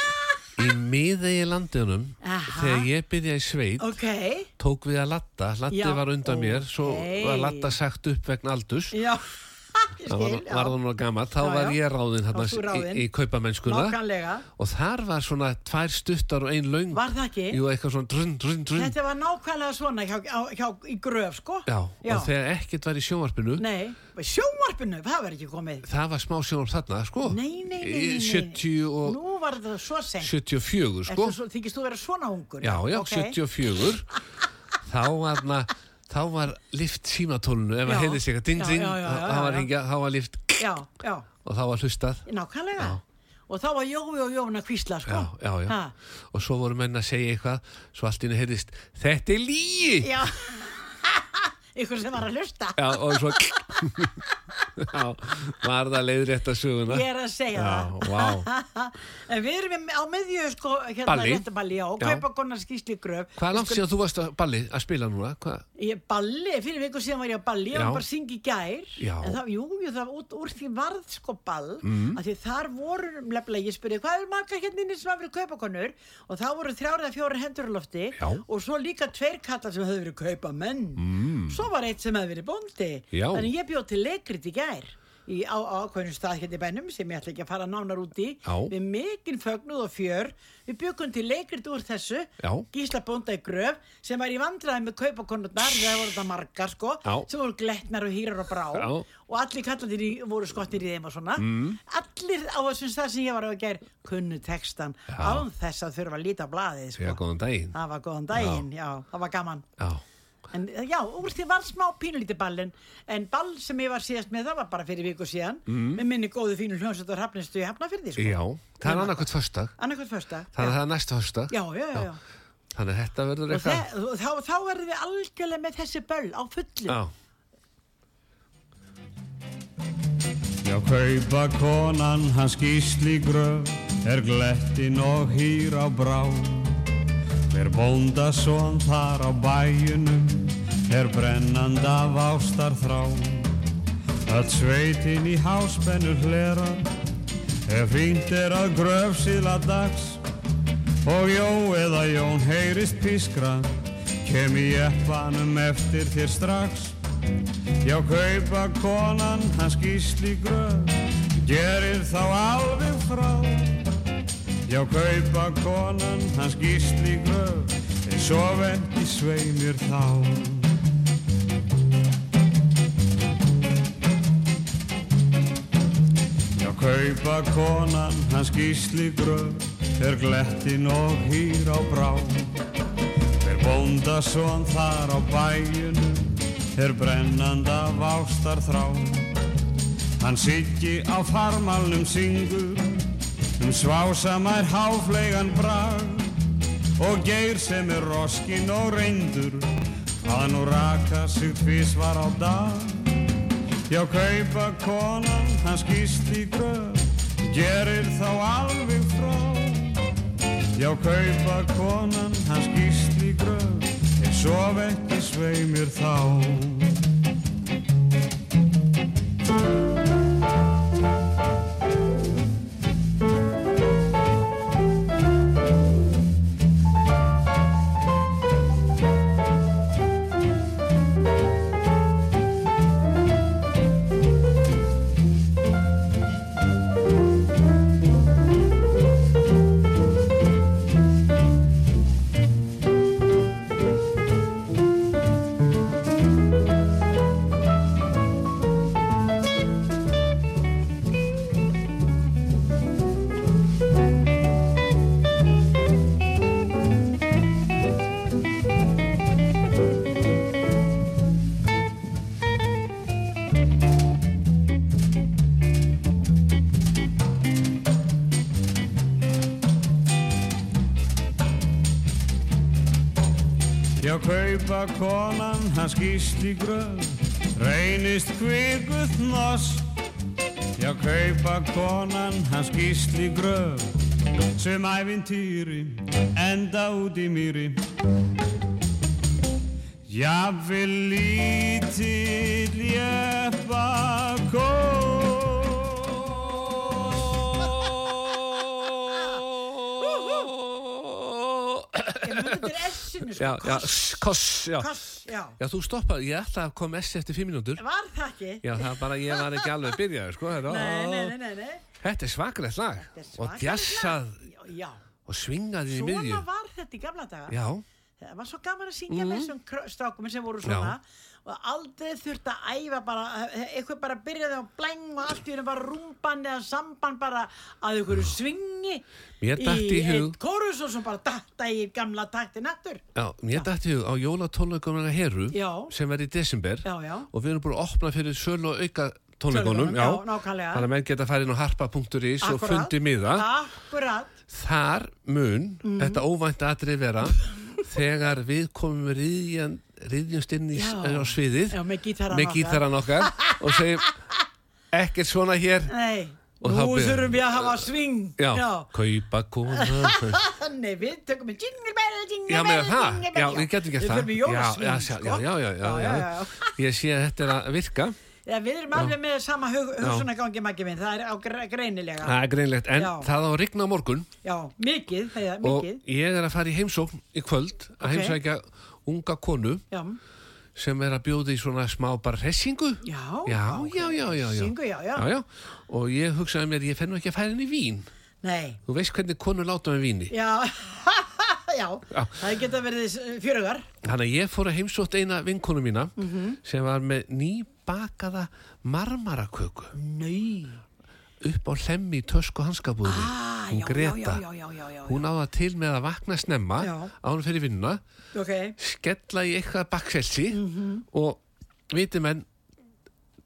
[SPEAKER 3] í miðegi landinum
[SPEAKER 4] Aha.
[SPEAKER 3] Þegar ég byrjaði í sveit
[SPEAKER 4] Ok,
[SPEAKER 3] Tók við að latta, latti
[SPEAKER 4] Já,
[SPEAKER 3] var undan mér Svo
[SPEAKER 4] ókei.
[SPEAKER 3] var latta sagt upp vegna aldurs
[SPEAKER 4] já Ég
[SPEAKER 3] Það var,
[SPEAKER 4] skil,
[SPEAKER 3] var það nú gammalt, þá
[SPEAKER 4] Já,
[SPEAKER 3] var
[SPEAKER 4] já.
[SPEAKER 3] ég ráðinn
[SPEAKER 4] Þá varst þú
[SPEAKER 3] þarna í,
[SPEAKER 4] ráðinn.
[SPEAKER 3] í kaupamennskuna
[SPEAKER 4] Nákvæmlega
[SPEAKER 3] og þar var svona tvær stuttar og ein löng
[SPEAKER 4] Var það ekki?
[SPEAKER 3] Jú, eitthvað svona drun, drun, drun
[SPEAKER 4] Þetta var nákvæmlega svona hjá, hjá, hjá, í gröf sko
[SPEAKER 3] já, og þegar ekkert var í sjónvarpinu
[SPEAKER 4] Nei, sjónvarpinu, það var ekki komið
[SPEAKER 3] það var smá sjónvarp þarna, sko
[SPEAKER 4] Nei, nei, nei,
[SPEAKER 3] Í
[SPEAKER 4] nei, nei.
[SPEAKER 3] 70 og
[SPEAKER 4] Nú var þetta svo sent
[SPEAKER 3] 74, sko
[SPEAKER 4] Ertu svo, þykist þú vera svona ungur?
[SPEAKER 3] Já, já,
[SPEAKER 4] Ok.
[SPEAKER 3] 74 þá var na, þá var lift símatólinu ef
[SPEAKER 4] Já.
[SPEAKER 3] að heyrðist eitthvað ding,
[SPEAKER 4] Já,
[SPEAKER 3] ding,
[SPEAKER 4] já, já, já,
[SPEAKER 3] þá
[SPEAKER 4] já.
[SPEAKER 3] var hringja þá var lift
[SPEAKER 4] Já, já,
[SPEAKER 3] og þá var hlustað
[SPEAKER 4] nákvæmlega Og þá var Jói og Jóna kvísla, sko
[SPEAKER 3] Já, já, já
[SPEAKER 4] Ha.
[SPEAKER 3] og svo voru menn að segja eitthvað svo allt inni heyrðist, þetta er líi
[SPEAKER 4] Já Ykkur sem var að hlusta
[SPEAKER 3] Já, og svo já, var það leiðrétt að söguna
[SPEAKER 4] Ég er að segja
[SPEAKER 3] Já, vá.
[SPEAKER 4] það En við erum í- á miðju, sko, hérna
[SPEAKER 3] Balli.
[SPEAKER 4] réttaballi, já, og
[SPEAKER 3] Já.
[SPEAKER 4] kaupa konar skýsli gröf
[SPEAKER 3] Hvað er langt síðan þú varst að balli að spila núna? Hvað?
[SPEAKER 4] Ég balli, fyrir viku síðan var ég á balli
[SPEAKER 3] Já.
[SPEAKER 4] og bara syngi í gær
[SPEAKER 3] Já.
[SPEAKER 4] en það, jú, jú, það var út, úr því varð sko ball mm. að því þar voru, lefnilega ég spurði hvað er marga hérna inni sem hafa verið kaupakonur og þá voru þrjárið að fjóra hendur á lofti
[SPEAKER 3] Já.
[SPEAKER 4] og svo líka tveir kallar sem höfðu verið kaupamenn mm. svo var eitt sem hefði verið bóndi
[SPEAKER 3] Já.
[SPEAKER 4] þannig ég bjóð til leikrit í gær í á á ákveðnum stað hérna í bænum sem ég ætla ekki að fara nánar út í
[SPEAKER 3] Já.
[SPEAKER 4] við mikinn fögnuð og fjör við byggum til leikrit úr þessu
[SPEAKER 3] Já.
[SPEAKER 4] Gísla bónda í gröf sem var í vandræði með kaupakonurnar það voru þetta margar sko
[SPEAKER 3] Já.
[SPEAKER 4] sem voru glettnar og hýrar og brá
[SPEAKER 3] Já.
[SPEAKER 4] og allir kallandir í, voru skottir í þeim og svona mm. allir á þessum stað sem ég var á að gera kunnu textan án þess að þurfa að líta á blaðið
[SPEAKER 3] Já,
[SPEAKER 4] sko.
[SPEAKER 3] góðan daginn
[SPEAKER 4] það var góðan daginn, já. það var gaman
[SPEAKER 3] Já,
[SPEAKER 4] en eh, já, úr því var smá pínulíti ballin en ball sem ég var síðast með það var bara fyrir viku síðan mm. með minni góðu fínu hljónsett og hafnistu í hafnafyrði sko.
[SPEAKER 3] já það er annarkvæmt förstak
[SPEAKER 4] annarkvæmt fyrsta
[SPEAKER 3] Þannig að það er næst förstak
[SPEAKER 4] já, já, já, já.
[SPEAKER 3] Þannig að þetta verður
[SPEAKER 4] Og
[SPEAKER 3] eitthvað
[SPEAKER 4] þe- og þá, þá verðum við algjörlega með þessi böll á fullu
[SPEAKER 3] Já,
[SPEAKER 2] Já, kaupa konan hans gísli gröf er glettin og hýr á brá. Hver bóndasón þar á bæjunum er brennand af ástar þrá. að sveitin í háspennu hlera ef fínt er að gröf síla dags og jó eða jón heyrist pískra kem í eppanum eftir þér strax Já, kaupa konan hans gísli gröf gerir þá alveg frá Já, kaupa konan hans gísli gröf en svo vendi sveimir þá Já, kaupa konan hans gísli gröf er glettin og hýr á brá Er bóndasón þar á bæjunum Er brennanda vástar þrá Hann siggi á farmalnum syngur Um svásamær háflegan brag Og geir sem er roskin og reyndur Að nú raka sig tvísvar á dag Já, kaupa konan hans gísli gröf Gerir þá alveg frá Já, kaupa konan hans gísli gröf En sof ekki sveimir þá Já, kaupa konan hans gísli gröf Reynist kvikuð hnoss Já, kaupa konan hans gísli gröf Sem ævintýri enda út í mýri Jafnvel lítill jeppa
[SPEAKER 4] Ég mun þetta er essinu sko.
[SPEAKER 3] Já, já, s- koss, já.
[SPEAKER 4] Koss, já.
[SPEAKER 3] Já, þú stoppaði, ég ætla að koma S eftir fimm mínútur.
[SPEAKER 4] Var það ekki?
[SPEAKER 3] Já, það er bara, ég var ekki alveg byrjaði, sko. Þetta,
[SPEAKER 4] Nei, nei, nei, nei, nei.
[SPEAKER 3] Þetta er svakalegt lag.
[SPEAKER 4] Þetta er
[SPEAKER 3] Og
[SPEAKER 4] svakalegt
[SPEAKER 3] djassað
[SPEAKER 4] Já, já.
[SPEAKER 3] og svingaði í miðju.
[SPEAKER 4] Svona var þetta í gamla daga.
[SPEAKER 3] Já, Mhm.
[SPEAKER 4] Það var svo gaman að syngja með þessum krö- strákum sem voru svona og aldrei þurft að æfa bara, eitthvað bara byrjaði á blæng og allt í hennu bara rúmban eða samban bara að einhverju svingi
[SPEAKER 3] Mér datt í hug-
[SPEAKER 4] eitt kórus og svo bara datta í gamla takti nattur.
[SPEAKER 3] já, mér dætti á jólatónleikunarna Heru
[SPEAKER 4] Já.
[SPEAKER 3] sem verði í desember
[SPEAKER 4] Já, já.
[SPEAKER 3] og við erum búin að opna fyrir sölu og auka tónleikunum.
[SPEAKER 4] Tónleikunum, já, nákvæmlega.
[SPEAKER 3] Þannig að menn geta að fara inn á harpa.is og
[SPEAKER 4] Akkúrat.
[SPEAKER 3] fundi miða.
[SPEAKER 4] Akkurat.
[SPEAKER 3] Þar mun
[SPEAKER 4] Mm.
[SPEAKER 3] þetta óvænt atrið vera þegar við komum riðjan, riðjumst inn í, s-
[SPEAKER 4] Já.
[SPEAKER 3] á sviðið
[SPEAKER 4] Já, með gítarann
[SPEAKER 3] með
[SPEAKER 4] okkar.
[SPEAKER 3] gítaran okkar og segjum ekkert svona hér
[SPEAKER 4] Nei,
[SPEAKER 3] Og
[SPEAKER 4] nú
[SPEAKER 3] það byrjar-
[SPEAKER 4] þurfum við að hafa sving.
[SPEAKER 3] já, kaupa kona
[SPEAKER 4] Nei, við tökum með jingle bell, jingle
[SPEAKER 3] já,
[SPEAKER 4] bell,
[SPEAKER 3] með það,
[SPEAKER 4] jingle
[SPEAKER 3] já,
[SPEAKER 4] bell.
[SPEAKER 3] við getum gert
[SPEAKER 4] Við
[SPEAKER 3] það
[SPEAKER 4] þurfum í
[SPEAKER 3] já, já,
[SPEAKER 4] jólasving,
[SPEAKER 3] já,
[SPEAKER 4] sko.
[SPEAKER 3] já, já, já, já,
[SPEAKER 4] já, já.
[SPEAKER 3] ég sé að þetta er að virka
[SPEAKER 4] Já, við erum alveg með sama hug, hugsunagangi maggi minn, það er á gre- greinilega.
[SPEAKER 3] það er greinlegt, en
[SPEAKER 4] Já.
[SPEAKER 3] það á að rigna á morgun
[SPEAKER 4] Já, mikið, það er
[SPEAKER 3] og
[SPEAKER 4] mikið.
[SPEAKER 3] ég er að fara í heimsókn í kvöld að
[SPEAKER 4] Ok.
[SPEAKER 3] heimsækja unga konu
[SPEAKER 4] Já,
[SPEAKER 3] sem er að bjóða í svona smá bara hressingu
[SPEAKER 4] já,
[SPEAKER 3] já, já, já, já, já.
[SPEAKER 4] Syngu, já, já.
[SPEAKER 3] já, já. Og ég hugsaði mér, ég fennu ekki að færa henni vín.
[SPEAKER 4] Nei,
[SPEAKER 3] Þú veist hvernig konur láta með víni.
[SPEAKER 4] já, já, það geta verið s- fjörugar.
[SPEAKER 3] Þannig að ég fór að heimsótt eina vinkonu mína sem var með nýbakaða marmaraköku
[SPEAKER 4] Nei.
[SPEAKER 3] upp á hlemmi í tösku hanskabúðinni.
[SPEAKER 4] Ah,
[SPEAKER 3] hún
[SPEAKER 4] já,
[SPEAKER 3] Greta.
[SPEAKER 4] já, já, já, já, já, já.
[SPEAKER 3] Hún áða til með að vakna snemma
[SPEAKER 4] Já.
[SPEAKER 3] á hún fyrir vinnuna,
[SPEAKER 4] Ok,
[SPEAKER 3] skella í eitthvað bakselsi
[SPEAKER 4] Mhm.
[SPEAKER 3] og viti menn,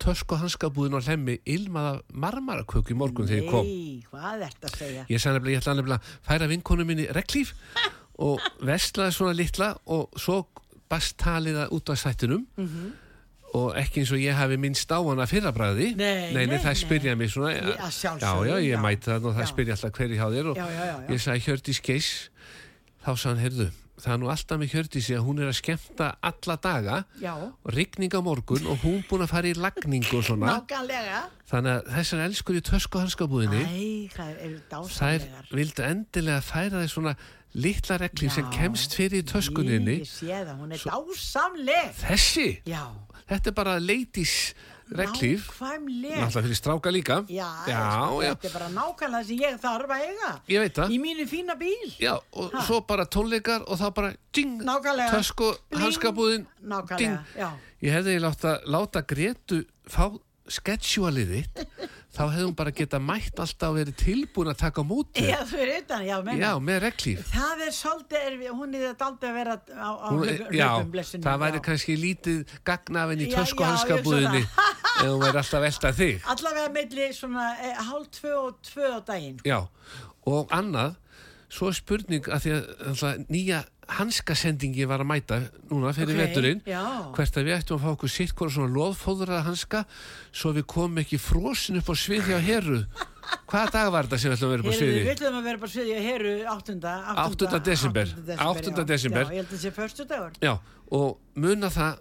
[SPEAKER 3] tösku hanskabúðin á hlemmi ilmaða marmaraköku í morgun Sko, þegar ég kom.
[SPEAKER 4] nei, hvað ert að segja?
[SPEAKER 3] Ég sagði nefnilega, ég ætlaði nefnilega að færa vinkonu minni reglíf og veslaði svona litla og svo bast taliða út af sættinum og ekki eins og ég hafi minnst á hana fyrrabræði.
[SPEAKER 4] Nei,
[SPEAKER 3] nei,
[SPEAKER 4] nei,
[SPEAKER 3] það
[SPEAKER 4] nei.
[SPEAKER 3] spyrja mig svona.
[SPEAKER 4] að sjálfsögðu,
[SPEAKER 3] Já, já,
[SPEAKER 4] já.
[SPEAKER 3] ég mæti það og það
[SPEAKER 4] Já.
[SPEAKER 3] spyrja alltaf hverju hjá þér og
[SPEAKER 4] Já, já, já, já.
[SPEAKER 3] ég sagði Hjördís Geis, þá sagði hann, heyrðu, það er nú alltaf með Hjördísi að hún er að skemmta alla daga
[SPEAKER 4] Já.
[SPEAKER 3] og rigning á morgun og hún búin að fara í lagningu og svona
[SPEAKER 4] Nákvæmlega.
[SPEAKER 3] þannig að þessar elskur í tösku og hanskabúðinni
[SPEAKER 4] Æ, það eru
[SPEAKER 3] þær
[SPEAKER 4] dásamlegar.
[SPEAKER 3] vildu endilega færa þeir svona litla reglur sem
[SPEAKER 4] Já.
[SPEAKER 3] kemst fyrir í töskuninni
[SPEAKER 4] Ég sé það, hún er dásamleg.
[SPEAKER 3] þessi,
[SPEAKER 4] Já.
[SPEAKER 3] þetta er bara ladies reglur
[SPEAKER 4] Nákvæmleg.
[SPEAKER 3] náttúrulega fyrir stráka líka
[SPEAKER 4] Já,
[SPEAKER 3] já,
[SPEAKER 4] sko,
[SPEAKER 3] já.
[SPEAKER 4] þetta er bara nákvæmlega það sem ég þarf að eiga.
[SPEAKER 3] ég veit það
[SPEAKER 4] Í mínu fína bíl.
[SPEAKER 3] já, og svo bara tónleikar og þá bara ding,
[SPEAKER 4] Nákvæmlega.
[SPEAKER 3] tösku,
[SPEAKER 4] Bling.
[SPEAKER 3] hanskabúðin
[SPEAKER 4] Nákvæmlega,
[SPEAKER 3] ding,
[SPEAKER 4] já.
[SPEAKER 3] ég hefði láta, láta Gretu fá sketsjúalið þitt þá hefði hún bara geta mætt alltaf og verið tilbúin að taka á móti
[SPEAKER 4] Já, þú er utan, já, menna.
[SPEAKER 3] já með reglíf
[SPEAKER 4] Það er svolítið, erfið, hún er þetta aldrei að vera á, á
[SPEAKER 3] Hún-
[SPEAKER 4] hlaup-
[SPEAKER 3] já,
[SPEAKER 4] hlaupum blessunum.
[SPEAKER 3] það væri kannski lítið gagnafinn í
[SPEAKER 4] Já,
[SPEAKER 3] tösku
[SPEAKER 4] já,
[SPEAKER 3] hanskabúðinni
[SPEAKER 4] ég
[SPEAKER 3] ef hún væri alltaf elda þig
[SPEAKER 4] Allavega meðli svona eh, hálf tvö og tvö á daginn.
[SPEAKER 3] já, og annað svo er spurning að því að alltaf, nýja hanskasendingi var að mæta núna fyrir
[SPEAKER 4] Ok,
[SPEAKER 3] veturinn
[SPEAKER 4] já.
[SPEAKER 3] hvert að við ættum að fá okkur sitt hvora svona loðfóðraða hanska svo við komum ekki frosin upp á svið hjá herru hvaða dag var þetta sem við ætlum að vera upp á
[SPEAKER 4] Heyrðu, við
[SPEAKER 3] sviði?
[SPEAKER 4] ætlum að vera bara sviði og heru 8.
[SPEAKER 3] 8. desember. 8.
[SPEAKER 4] 8.
[SPEAKER 3] desember.
[SPEAKER 4] Já, ég held að það sé förstu dagur.
[SPEAKER 3] Já, og muna það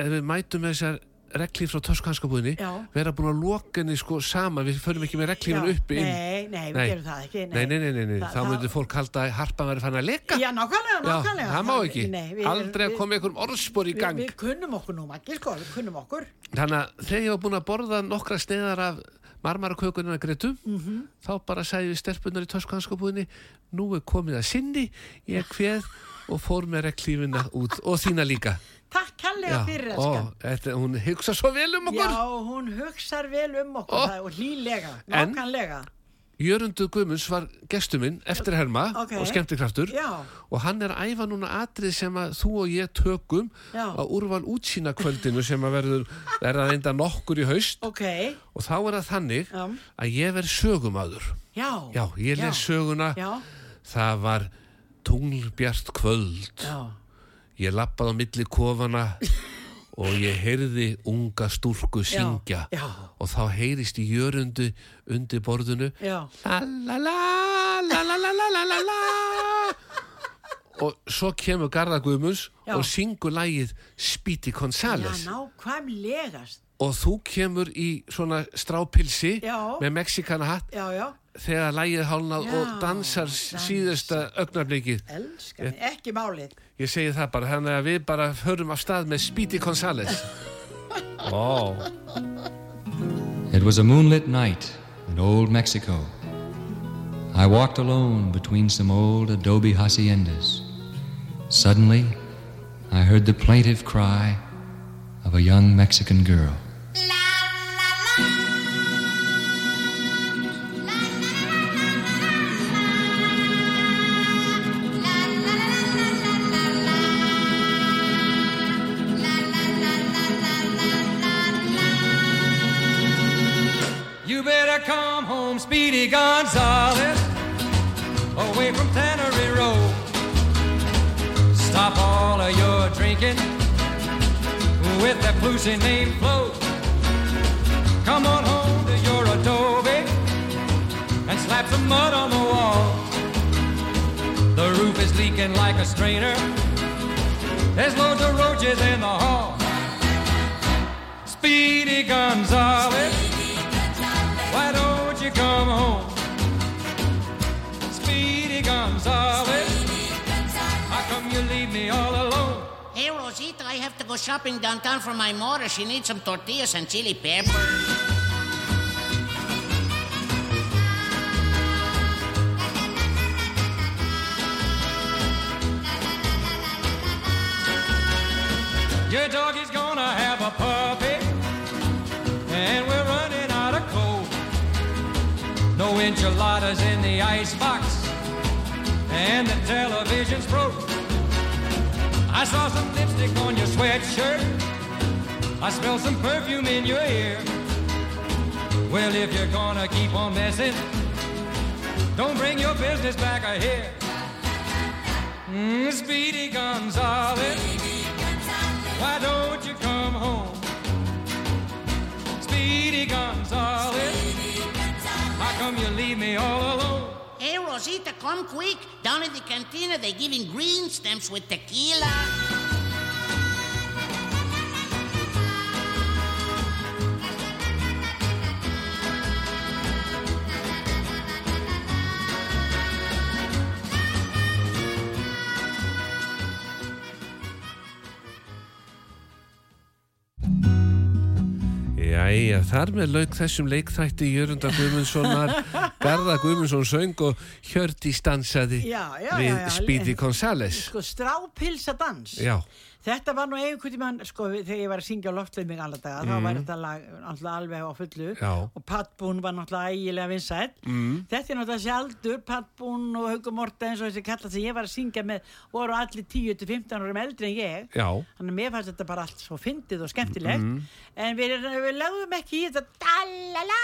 [SPEAKER 3] ef við mætum með þessar reglíf frá töskuhanskabúðinni
[SPEAKER 4] Já.
[SPEAKER 3] vera búin að loka henni sko sama við förum ekki með reglífun
[SPEAKER 4] Já,
[SPEAKER 3] uppi inn
[SPEAKER 4] nei, nei, við gerum það ekki,
[SPEAKER 3] Nei,
[SPEAKER 4] nei.
[SPEAKER 3] nei, nei, nei, nei. þá
[SPEAKER 4] Það- það-
[SPEAKER 3] myndir fólk halda að harpan verið fann að leka
[SPEAKER 4] Já, nákvæmlega, nákvæmlega.
[SPEAKER 3] það má ekki
[SPEAKER 4] Nei, við-
[SPEAKER 3] Aldrei að
[SPEAKER 4] við-
[SPEAKER 3] koma einhverjum orðspor í
[SPEAKER 4] við-
[SPEAKER 3] gang
[SPEAKER 4] Við kunnum okkur nú, Maggi, sko, við kunnum okkur.
[SPEAKER 3] Þannig að þegar ég var búin að borða nokkra sneiðar af marmarakökunina Gretu -hmm.
[SPEAKER 4] Mhm.
[SPEAKER 3] þá bara sagði við stelpunar í töskuhanskabúðinni nú er komið að sinni ég kveð og fór með reglífuna út og þína líka
[SPEAKER 4] Takk hellega fyrir,
[SPEAKER 3] ó,
[SPEAKER 4] elskan.
[SPEAKER 3] þetta, hún hugsa svo vel um okkur
[SPEAKER 4] Já, hún hugsar vel um okkur
[SPEAKER 3] Ó.
[SPEAKER 4] það, og hlýlega,
[SPEAKER 3] En-
[SPEAKER 4] nákvæmlega.
[SPEAKER 3] Jörundur Guðmunds var gestur minn eftir herma
[SPEAKER 4] Ok.
[SPEAKER 3] og skemmtikraftur
[SPEAKER 4] Já.
[SPEAKER 3] og hann er að æfa núna atrið sem að þú og ég tökum
[SPEAKER 4] Já.
[SPEAKER 3] á úrval útsýna kvöldinu sem að verður verða reynda nokkur í haust
[SPEAKER 4] Ok,
[SPEAKER 3] og þá er það þannig
[SPEAKER 4] Já.
[SPEAKER 3] að ég verð sögumadur
[SPEAKER 4] já.
[SPEAKER 3] Já, ég les söguna
[SPEAKER 4] Já,
[SPEAKER 3] það var tunglbjart kvöld
[SPEAKER 4] já.
[SPEAKER 3] ég lappaði á milli kofana og ég heyrði unga stúlku syngja
[SPEAKER 4] já.
[SPEAKER 3] og þá heyrist í jörundu undir borðinu
[SPEAKER 4] Já.
[SPEAKER 3] la la la la la la la la la la og svo kemur Garðar Guðmunds
[SPEAKER 4] Já.
[SPEAKER 3] og syngur lagið Spiti
[SPEAKER 4] Já,
[SPEAKER 3] Gonzales
[SPEAKER 4] nákvæmlegast.
[SPEAKER 3] og þú kemur í svona strápilsi
[SPEAKER 4] Já.
[SPEAKER 3] með mexikana hatt
[SPEAKER 4] Já, já,
[SPEAKER 3] þegar lagið er hálnað
[SPEAKER 4] Já,
[SPEAKER 3] og dansar
[SPEAKER 4] dansa.
[SPEAKER 3] síðasta augnablikið
[SPEAKER 4] elskar mig, ekki málið.
[SPEAKER 3] Ég segi það bara, þannig að við bara hörum af stað með Speedy Gonzales. Ó,
[SPEAKER 7] It was a moonlit night in old Mexico. I walked alone between some old adobe haciendas. Suddenly, I heard the plaintive cry of a young Mexican girl. You better come home, Speedy Gonzales, away from Tannery Road. Stop all of your drinking with that Lucy named Flo. Come on home to your adobe and slap some mud on the wall. The roof is leaking like a strainer. There's loads of roaches in the hall. Speedy Gonzales. Why don't you come home? Speedy Gonzales. How come you leave me all alone?
[SPEAKER 8] Hey, Rosita, I have to go shopping downtown for my mother. She needs some tortillas and chili pepper.
[SPEAKER 7] Your dog is gonna have a puppy, and we're running out of coal. No enchiladas in the icebox, and the television's broke. I saw some lipstick on your sweatshirt. I smell some perfume in your ear. Well, if you're gonna keep on messing, don't bring your business back here. Mm, Speedy Gonzales. Why don't you come home? Speedy Gonzales. How come you leave me all alone?
[SPEAKER 8] Hey, Hey, Rosita, come quick. Down in the cantina, they're giving green stamps with tequila.
[SPEAKER 3] Jæja, þar með lauk þessum leikþætti Jörunda Guðmundssonar, Garða Guðmundsson söng og Hjördi stansaði
[SPEAKER 4] Já, já,
[SPEAKER 3] við
[SPEAKER 4] já, já.
[SPEAKER 3] Speedy Gonzales.
[SPEAKER 4] sko strápilsadans
[SPEAKER 3] Já,
[SPEAKER 4] þetta var nú einhvern tímann sko við- þegar ég var að syngja á loftleið mig alla daga þá var þetta lag náttúrulega alveg á fullu
[SPEAKER 3] Mhm. Já.
[SPEAKER 4] og Patbún var náttúrulega ægilega vinsætt mm. þetta er náttúrulega þessi aldur Patbún og Hugo Mortens og þessi kallar sem ég var að syngja með voru allir 10-15 árum eldri en ég
[SPEAKER 3] já,
[SPEAKER 4] Þannig að mér fannst þetta bara allt svo fyndið og skemmtilegt
[SPEAKER 3] Mhm.
[SPEAKER 4] En við, við lögum ekki í þetta Dalala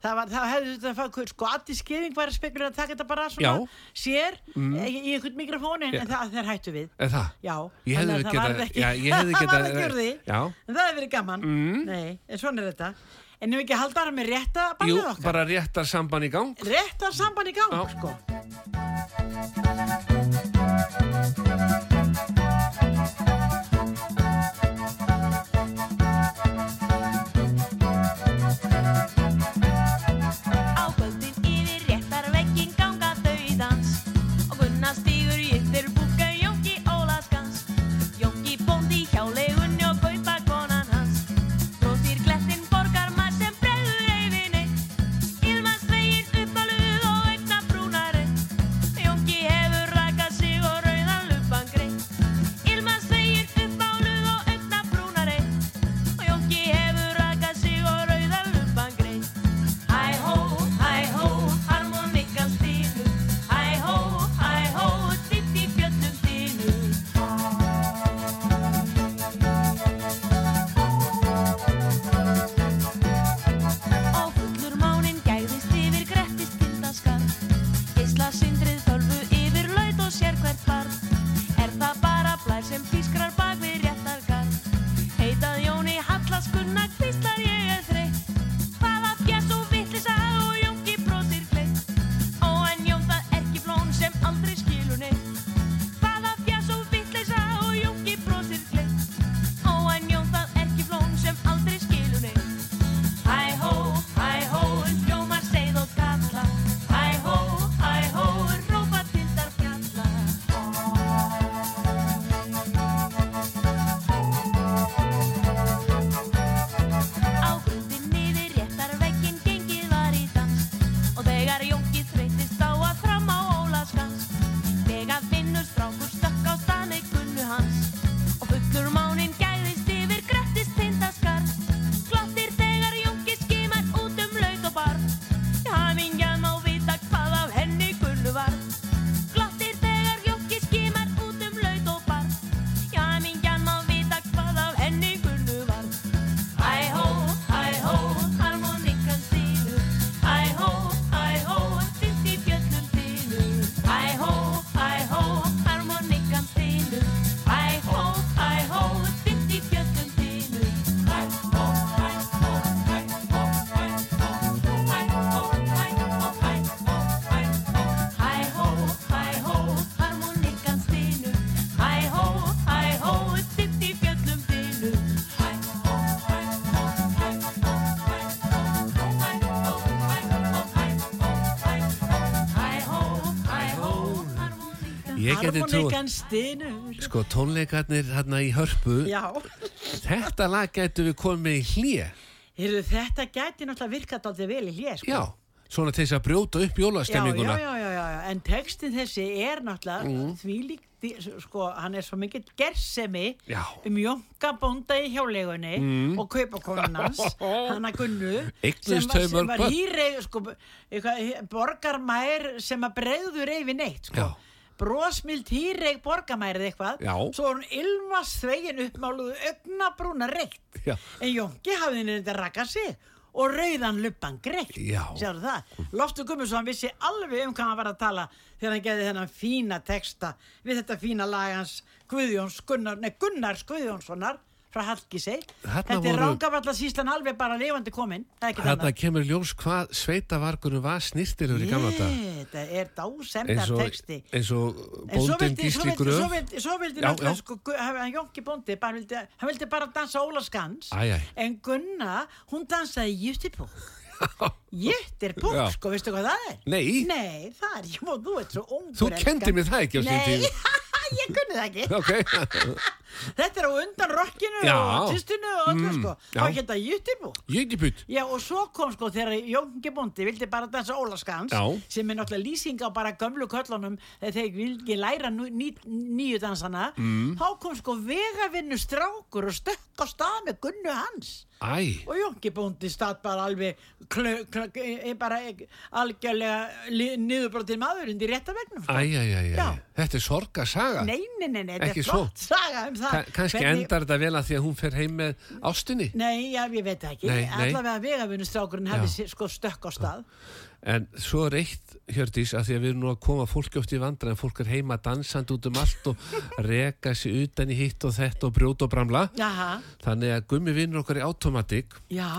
[SPEAKER 4] Það, var, það hefði þetta fag, sko allir skefing var að spekulera að taka þetta bara svona
[SPEAKER 3] Já.
[SPEAKER 4] sér í, í einhvern mikrofón en, en það, þeir hættu við
[SPEAKER 3] eða það.
[SPEAKER 4] Já,
[SPEAKER 3] Ég hefði
[SPEAKER 4] þannig að það
[SPEAKER 3] getað-
[SPEAKER 4] varð ekki,
[SPEAKER 3] já, ég hefði
[SPEAKER 4] það varð
[SPEAKER 3] getað-
[SPEAKER 4] ekki úr því
[SPEAKER 3] já. Mm.
[SPEAKER 4] En það hefði verið gaman Nei, en svona er þetta En ef ekki að halda það með rétta
[SPEAKER 3] Jú,
[SPEAKER 4] bannið okkar
[SPEAKER 3] bara réttar samban í gang.
[SPEAKER 4] Rétta samband í gang,
[SPEAKER 3] Já.
[SPEAKER 4] sko
[SPEAKER 9] Á kvöldin yfir réttar vekking ganga dauðans Og Gunnar stígur yfir búka Jónki Ólaskans Jónki bóndi hjá leigunni og kaupa konan hans Róðir glettin borgar maður sem bregður eyfinni Ilmast veginn uppaluð og einna brúnari Jónki hefur rakað sig og rauðan lupangri Ilmast veginn uppaluð og einna brúnari Jónki hefur rakað sig og rauðan lupangri Hæ hó, hæ hó, harmonikkan stýnur Hæ hó, hæ hó, ditt í fjöllum dýnur Og fullur máninn gæðist yfir grettist tindaskarð Geisla sindrið þölfu yfir laut og sér hvert barð Er það bara blær sem pískrar bak við réttargarð Heitað Jóni Hallast Gunnar hvíslar ég er þreytt Hvaða fjess og vittlisa og Jónki brotir kleitt Ó en Jón það er ekki flón sem aldrei skilur neitt Hvaða fjess og vittlisa og Jónki brotir kleitt Ó en Jón það er ekki flón sem aldrei skilur neitt Hæ hó, hæ hó, hljómar seið og kalla Hæ hó, hæ hó, rópa tindar fjalla Á grundin niður réttar vekkin gengið var í dans Og þegar Jónki þreytist á að fram á Ólaskans Þegar vinnur strákur stökk á stani gunnu hans Og fullur máninn gæðist yfir grættist tindaskar Glottir þegar Jónki skimar út um laut og bar Hamingjan má vita hvað af henni gunnu var Glottir þegar Jónki skimar út um laut og bar Hamingjan má vita hvað af henni gunnu var Hæ hó, hæ hó, harmonikkan stýnur Hæ hó, hæ hó, fyrst í fjöllum dýnur Hæ hó, hæ hó, harmonikkan stýnur Hæ hó, hæ hó, fyrst í fjöllum dýnur Hæ hó, hæ hó, hæ hó, hæ hó Hæ hó, hæ hó, hæ hó, hæ hó Hæ hó, hæ hó, harmonikkan stýnur Hæ hó, hæ hó, fyrst í fjöllum dýnur Hæ hó, hæ hó, hæ hó, hæ hó Hæ hó, hæ hó, hæ hó, hæ hó Hæ hó, hæ hó, harmonikkan
[SPEAKER 3] Ég geti trú,
[SPEAKER 4] Harmonikan stinur
[SPEAKER 3] sko tónleikarnir hérna í hörpu,
[SPEAKER 4] Já
[SPEAKER 3] þetta lag getum við komið í hlýja.
[SPEAKER 4] Heyrðu, þetta gæti náttúrulega virkað aldrei vel í hlið, sko.
[SPEAKER 3] Já, svona til þess að brjóta upp jólastemminguna.
[SPEAKER 4] Já, já, já, já, já, en textin þessi er náttúrulega
[SPEAKER 3] Mhm.
[SPEAKER 4] mm. því líkt, sko, hann er svo mikill gersemi
[SPEAKER 3] Já. Mhm.
[SPEAKER 4] um Jónka bónda í hjálegunni mm. og kaupakonunans, hann að Gunnu,
[SPEAKER 3] Eignuðust
[SPEAKER 4] sem var,
[SPEAKER 3] þau mörg
[SPEAKER 4] sem var
[SPEAKER 3] börn?
[SPEAKER 4] hýreig, sko, eitthvað, borgarmær sem að breyður yfir neitt, sko.
[SPEAKER 3] Já.
[SPEAKER 4] brosmild hýreig borgarmærið eitthvað
[SPEAKER 3] Já.
[SPEAKER 4] svo hún ilmas þvegin uppmáluðu ögnabrúna reykt
[SPEAKER 3] Já.
[SPEAKER 4] en Jónki hafði henni þetta rakað sig og rauðan luppan greitt
[SPEAKER 3] Já.
[SPEAKER 4] Sjáðu það, Loftur Gummusson vissi alveg um hvað hann var að tala þegar hann geði þennan fína texta við þetta fína lag hans Guðjóns Gunnar, nei Gunnars Guðjónssonar frá Hallgísei.
[SPEAKER 3] Þarna
[SPEAKER 4] Þetta er
[SPEAKER 3] voru-
[SPEAKER 4] rángavallarsýslan alveg bara lifandi komin. Það er ekki
[SPEAKER 3] Þarna kemur ljós hvað sveitavargunum var snýrtilur í gamla dag.
[SPEAKER 4] Þetta er dásemdar
[SPEAKER 3] Eins og,
[SPEAKER 4] texti.
[SPEAKER 3] eins og
[SPEAKER 4] En svo
[SPEAKER 3] bóndin
[SPEAKER 4] vildi, svo
[SPEAKER 3] gísli
[SPEAKER 4] vildi,
[SPEAKER 3] gröf.
[SPEAKER 4] svo vildi, svo vildi
[SPEAKER 3] Já,
[SPEAKER 4] náttúrulega
[SPEAKER 3] já.
[SPEAKER 4] sko, Gu- hann Jónki Bóndi, bara vildi, hann vildi bara dansa Ólaskans,
[SPEAKER 3] Æ, æ.
[SPEAKER 4] en Gunna, hún dansaði Júttipúk. Júttipúk,
[SPEAKER 3] Já.
[SPEAKER 4] sko, veistu hvað það er?
[SPEAKER 3] Nei.
[SPEAKER 4] Nei, það er, ég má, þú ert svo ungur.
[SPEAKER 3] Þú
[SPEAKER 4] elskan.
[SPEAKER 3] kendir mér það ekki á sín tíð.
[SPEAKER 4] Nei, ég kunni það ekki.
[SPEAKER 3] Ok,
[SPEAKER 4] Þetta er á undan rokkinu
[SPEAKER 3] Já.
[SPEAKER 4] og týstinu og öllu,
[SPEAKER 3] Mm,
[SPEAKER 4] sko.
[SPEAKER 3] já.
[SPEAKER 4] Hvað geta Júttipúk?
[SPEAKER 3] jöngibut.
[SPEAKER 4] Já, og svo kom sko þegar Jónki Bóndi vildi bara dansa Ólaskans
[SPEAKER 3] Já.
[SPEAKER 4] sem er náttúrulega lýsing á bara gömlu köllunum þegar þeir vildi læra nú, ný, nýju dansana mm. þá kom sko vegavinnu strákur og stökk á stað með gunnu hans
[SPEAKER 3] Æ,
[SPEAKER 4] og Jónki Bóndi stað bara alveg klö, klö, e, bara e, algjörlega niðurbrotin maður undir réttavegnum
[SPEAKER 3] æ,
[SPEAKER 4] sko.
[SPEAKER 3] æ, æ, æ.
[SPEAKER 4] Já.
[SPEAKER 3] Þetta er sorgasaga.
[SPEAKER 4] Nei, nei, nei, nei, þetta
[SPEAKER 3] Ekki
[SPEAKER 4] er
[SPEAKER 3] svo.
[SPEAKER 4] flott saga um það
[SPEAKER 3] Ka kannski
[SPEAKER 4] hvernig-
[SPEAKER 3] endar þetta vel að því að hún fer heim með ástinni.
[SPEAKER 4] Nei, já, ég veit það ekki,
[SPEAKER 3] Nei, nei.
[SPEAKER 4] allavega vegavinnustrákurinn
[SPEAKER 3] Já.
[SPEAKER 4] hefði sé- sko stökk á stað
[SPEAKER 3] En svo er eitt, Hjördís, að því að við erum nú að koma fólki oft í vandra en fólk er heima dansandi út um allt og reka sig utan í hitt og þetta og brjóta og bramla.
[SPEAKER 4] Jaha,
[SPEAKER 3] Þannig að gummi vinnur okkar í automatik,
[SPEAKER 4] já,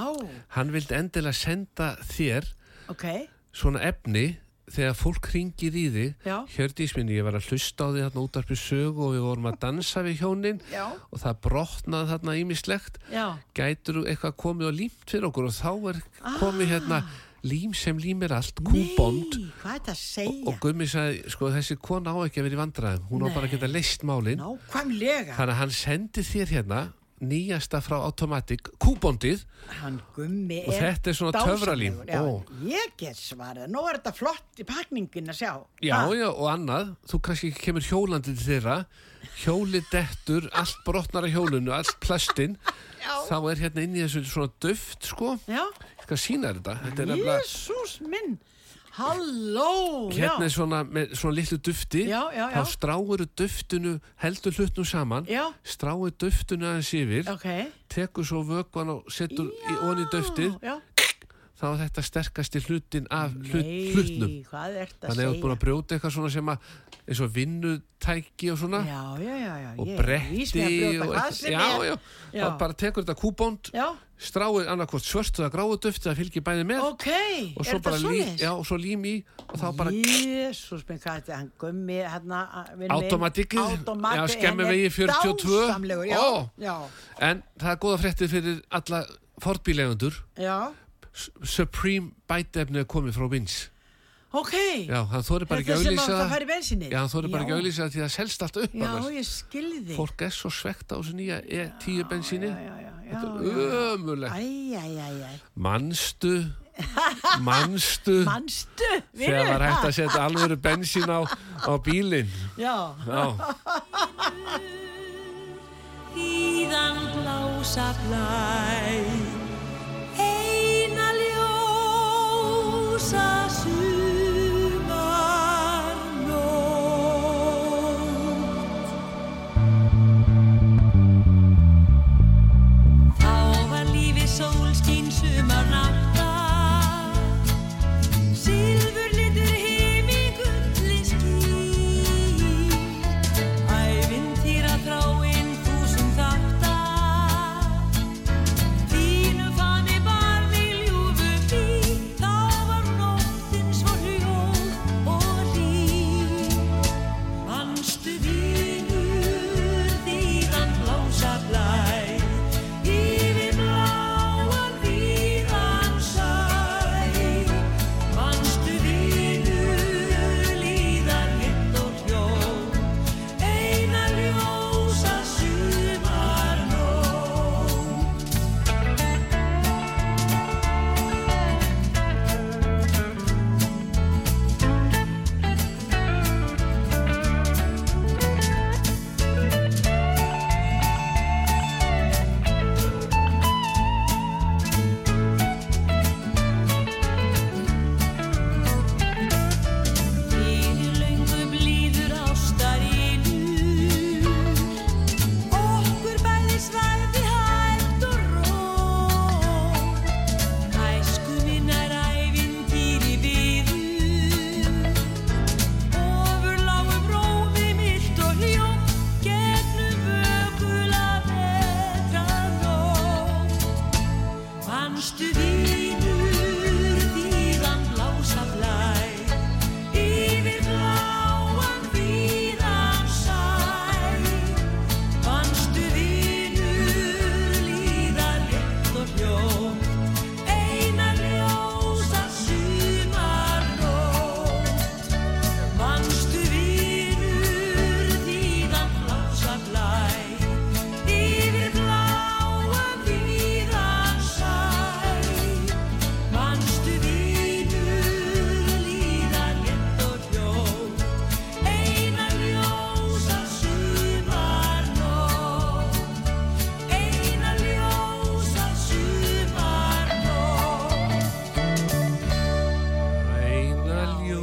[SPEAKER 3] hann vildi endilega senda þér
[SPEAKER 4] ok
[SPEAKER 3] svona efni þegar fólk ringir í þig
[SPEAKER 4] Já.
[SPEAKER 3] Hjördís minni, ég var að hlusta á því þarna útarpið sögu og við vorum að dansa við hjónin
[SPEAKER 4] Já.
[SPEAKER 3] og það brotnaði þarna ímislegt
[SPEAKER 4] Já.
[SPEAKER 3] gætur þú eitthvað komið og límt fyrir okkur og þá er
[SPEAKER 4] Ah.
[SPEAKER 3] komið hérna lím sem límir allt, kúbond
[SPEAKER 4] Nei, hvað er þetta að segja?
[SPEAKER 3] og Gummi sagði, sko þessi kona á ekki að vera í vandræðum hún á bara að geta leist málin
[SPEAKER 4] Nákvæmlega,
[SPEAKER 3] þannig að hann sendi þér hérna nýjasta frá Automatic kúbondið
[SPEAKER 4] hann gummi
[SPEAKER 3] Og
[SPEAKER 4] er
[SPEAKER 3] þetta er svona
[SPEAKER 4] dásamlegur.
[SPEAKER 3] töfralím.
[SPEAKER 4] Já,
[SPEAKER 3] Ó.
[SPEAKER 4] Ég get svarað, nú er þetta flott í pakningin að sjá
[SPEAKER 3] Já,
[SPEAKER 4] Ha,
[SPEAKER 3] já, og annað, þú kannski kemur hjólandi til þeirra, hjóli dettur, allt brotnar á hjólinu, allt plastinn, þá er hérna inn í þessu svona duft, sko.
[SPEAKER 4] já.
[SPEAKER 3] Hvað sína er þetta? Þetta er nefnilega,
[SPEAKER 4] Jésús minn Halló
[SPEAKER 3] hérna er
[SPEAKER 4] já.
[SPEAKER 3] svona, með svona litlu dufti,
[SPEAKER 4] Já, já, já.
[SPEAKER 3] þá stráir duftinu, heldur hlutnum saman,
[SPEAKER 4] Já.
[SPEAKER 3] stráir duftinu aðeins yfir,
[SPEAKER 4] Ok
[SPEAKER 3] tekur svo vökvan og setur í, onni duftið,
[SPEAKER 4] Já,
[SPEAKER 3] þá er þetta sterkasti hlutin af hlut,
[SPEAKER 4] Nei,
[SPEAKER 3] hlutnum.
[SPEAKER 4] hvað er þetta að
[SPEAKER 3] Þannig að þú ert búin
[SPEAKER 4] segja?
[SPEAKER 3] að brjóta eitthvað svona sem að, eins og vinnutæki og svona.
[SPEAKER 4] Já, já, já, já
[SPEAKER 3] og
[SPEAKER 4] ég er vís með að
[SPEAKER 3] bretti
[SPEAKER 4] brjóta
[SPEAKER 3] og
[SPEAKER 4] hvað
[SPEAKER 3] eitthvað-
[SPEAKER 4] sem
[SPEAKER 3] já, já,
[SPEAKER 4] er. Já.
[SPEAKER 3] já. bara tekur þetta kúbónd
[SPEAKER 4] Já,
[SPEAKER 3] stráið annarkvort svört eða gráu duft það fylgir bæði með og,
[SPEAKER 4] ok, er
[SPEAKER 3] svo
[SPEAKER 4] þetta
[SPEAKER 3] bara lí,
[SPEAKER 4] svoleiðis?
[SPEAKER 3] já, og svo lím í og þá bara
[SPEAKER 4] Jésús minn, hvað er þetta, hann gummi hérna,
[SPEAKER 3] Automatikið, já,
[SPEAKER 4] automatikið,
[SPEAKER 3] skemmi vegi 42.
[SPEAKER 4] dásamlegur, já,
[SPEAKER 3] Ó.
[SPEAKER 4] já,
[SPEAKER 3] en það er góða fréttið fyrir alla fortbílegundur
[SPEAKER 4] já,
[SPEAKER 3] Supreme bætefni er komið frá Vins
[SPEAKER 4] ok,
[SPEAKER 3] já, hann þóri bara ekki
[SPEAKER 4] þetta
[SPEAKER 3] að
[SPEAKER 4] sem að
[SPEAKER 3] auðlýsa það
[SPEAKER 4] það fær í bensinni,
[SPEAKER 3] já, hann þóri bara ekki að auðlýsa það því það selst allt upp
[SPEAKER 4] já,
[SPEAKER 3] annars.
[SPEAKER 4] ég skilði,
[SPEAKER 3] fólk er svo svegt á þessu nýja E10 bensíni
[SPEAKER 4] já, já, já,
[SPEAKER 3] þetta
[SPEAKER 4] já,
[SPEAKER 3] er ömulegt
[SPEAKER 4] æjæjæjæ,
[SPEAKER 3] manstu manstu
[SPEAKER 4] manstu,
[SPEAKER 3] þegar var hægt
[SPEAKER 4] ha?
[SPEAKER 3] að setja alvöru bensín á, á bílinn
[SPEAKER 4] já,
[SPEAKER 3] Já,
[SPEAKER 9] Híðan blása blæ Eina ljósa sumarnótt Þá var lífið sólskín sumarnátta Silfur litur heiminn gulli skýr Ævintýra þráinn þúsund þáttar Því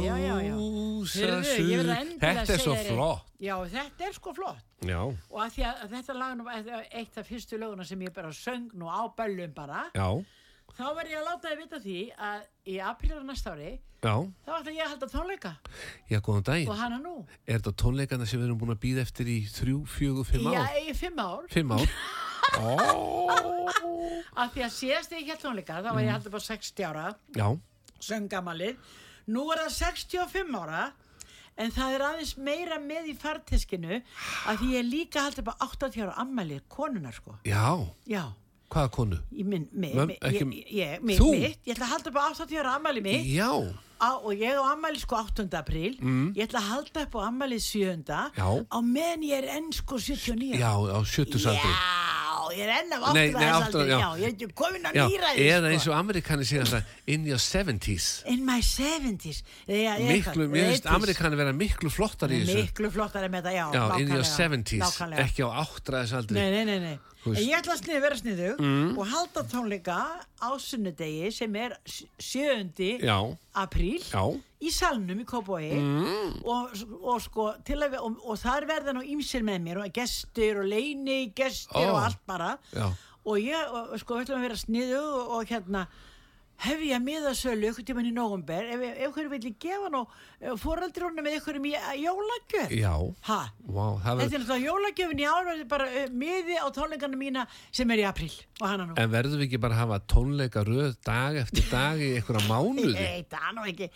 [SPEAKER 3] dansa
[SPEAKER 4] Heyrðu, ég verð
[SPEAKER 3] suður
[SPEAKER 4] að endilega
[SPEAKER 3] Þetta er svo
[SPEAKER 4] segja þér eitt.
[SPEAKER 3] flott
[SPEAKER 4] Já, þetta er sko flott.
[SPEAKER 3] Já,
[SPEAKER 4] Og að því að að þetta lag er nú eitt- eitt af fyrstu löguna sem ég bara söng nú á böllum bara,
[SPEAKER 3] já,
[SPEAKER 4] þá verð ég að láta þið vita því að í aprílar næsta ári,
[SPEAKER 3] já
[SPEAKER 4] þá ætla ég að halda tónleika
[SPEAKER 3] Já, góðan daginn
[SPEAKER 4] og hana nú.
[SPEAKER 3] Er þetta tónleikana sem við erum búin að býða eftir í þrjú, fjögur, fimm
[SPEAKER 4] Já,
[SPEAKER 3] ár?
[SPEAKER 4] í fimm ár.
[SPEAKER 3] Fimm ár Ó, Mm.
[SPEAKER 4] Af því að síðast þegar ég held tónleika, þá var ég haldið bara 60 ára.
[SPEAKER 3] Já,
[SPEAKER 4] söngamalið nú er það 65 ára en það er aðeins meira með í farteskinu að því ég er líka haldið bara 80 ára ammalið konunar sko
[SPEAKER 3] já,
[SPEAKER 4] já,
[SPEAKER 3] hvaða konu?
[SPEAKER 4] ég minn mig,
[SPEAKER 3] Mömm,
[SPEAKER 4] mig,
[SPEAKER 3] ekki-
[SPEAKER 4] ég, ég, mig,
[SPEAKER 3] Þú?
[SPEAKER 4] mitt, ég ætla að halda upp á 80 ára ammalið mitt
[SPEAKER 3] Já, Mm.
[SPEAKER 4] á, og ég á ammalið sko 8. apríl ég ætla að halda upp á ammalið 7.
[SPEAKER 3] Já.
[SPEAKER 4] á meðan ég er enn sko 79
[SPEAKER 3] já, á sjötusaldri
[SPEAKER 4] Já, ég er enn af
[SPEAKER 3] Nei,
[SPEAKER 4] 8.
[SPEAKER 3] nei, áttræðisaldri,
[SPEAKER 4] aldrei
[SPEAKER 3] já.
[SPEAKER 4] já, ég er sko. komin á
[SPEAKER 3] Já,
[SPEAKER 4] nýræði
[SPEAKER 3] eða eins og amerikani segja þetta In your 70s
[SPEAKER 4] In my 70s eða
[SPEAKER 3] Miklu,
[SPEAKER 4] eitthvað,
[SPEAKER 3] mér finnst
[SPEAKER 4] 80s.
[SPEAKER 3] amerikani vera miklu flottar í þessu
[SPEAKER 4] miklu flottari með þetta, já,
[SPEAKER 3] Já, in your
[SPEAKER 4] nákvæmlega,
[SPEAKER 3] 70s,
[SPEAKER 4] nákvæmlega.
[SPEAKER 3] ekki á áttræðisaldri
[SPEAKER 4] nei, nei, nei, nei.
[SPEAKER 3] Þú veist. Mm.
[SPEAKER 4] En ég ætla að snið, vera sniðug og halda tónleika á sunnudegi sem er 7.
[SPEAKER 3] Já,
[SPEAKER 4] apríl
[SPEAKER 3] já, Mm.
[SPEAKER 4] í salnum í Kópói og, og sko til að, við- og, og þar verða nú ímsir með mér og gestur og leini gestur
[SPEAKER 3] Ó.
[SPEAKER 4] og allt bara
[SPEAKER 3] já
[SPEAKER 4] og ég og, og sko við ætlum að vera sniðu og, og hérna hefja miðasölu ykkur tíman í nógumber ef, ef ykkur vilji gefa nú foreldrónum með ykkur í eh, jólagjöf
[SPEAKER 3] Já,
[SPEAKER 4] ha,
[SPEAKER 3] vá, það
[SPEAKER 4] þetta er
[SPEAKER 3] verður
[SPEAKER 4] náttúrulega jólagjöfin í ár og þetta er bara eh, miði á tónleikana mína sem er í apríl og hana nú
[SPEAKER 3] En verðum við ekki bara að hafa tónleika röð dag eftir dag í einhverja mánuði?
[SPEAKER 4] Nei, það er nú ekki,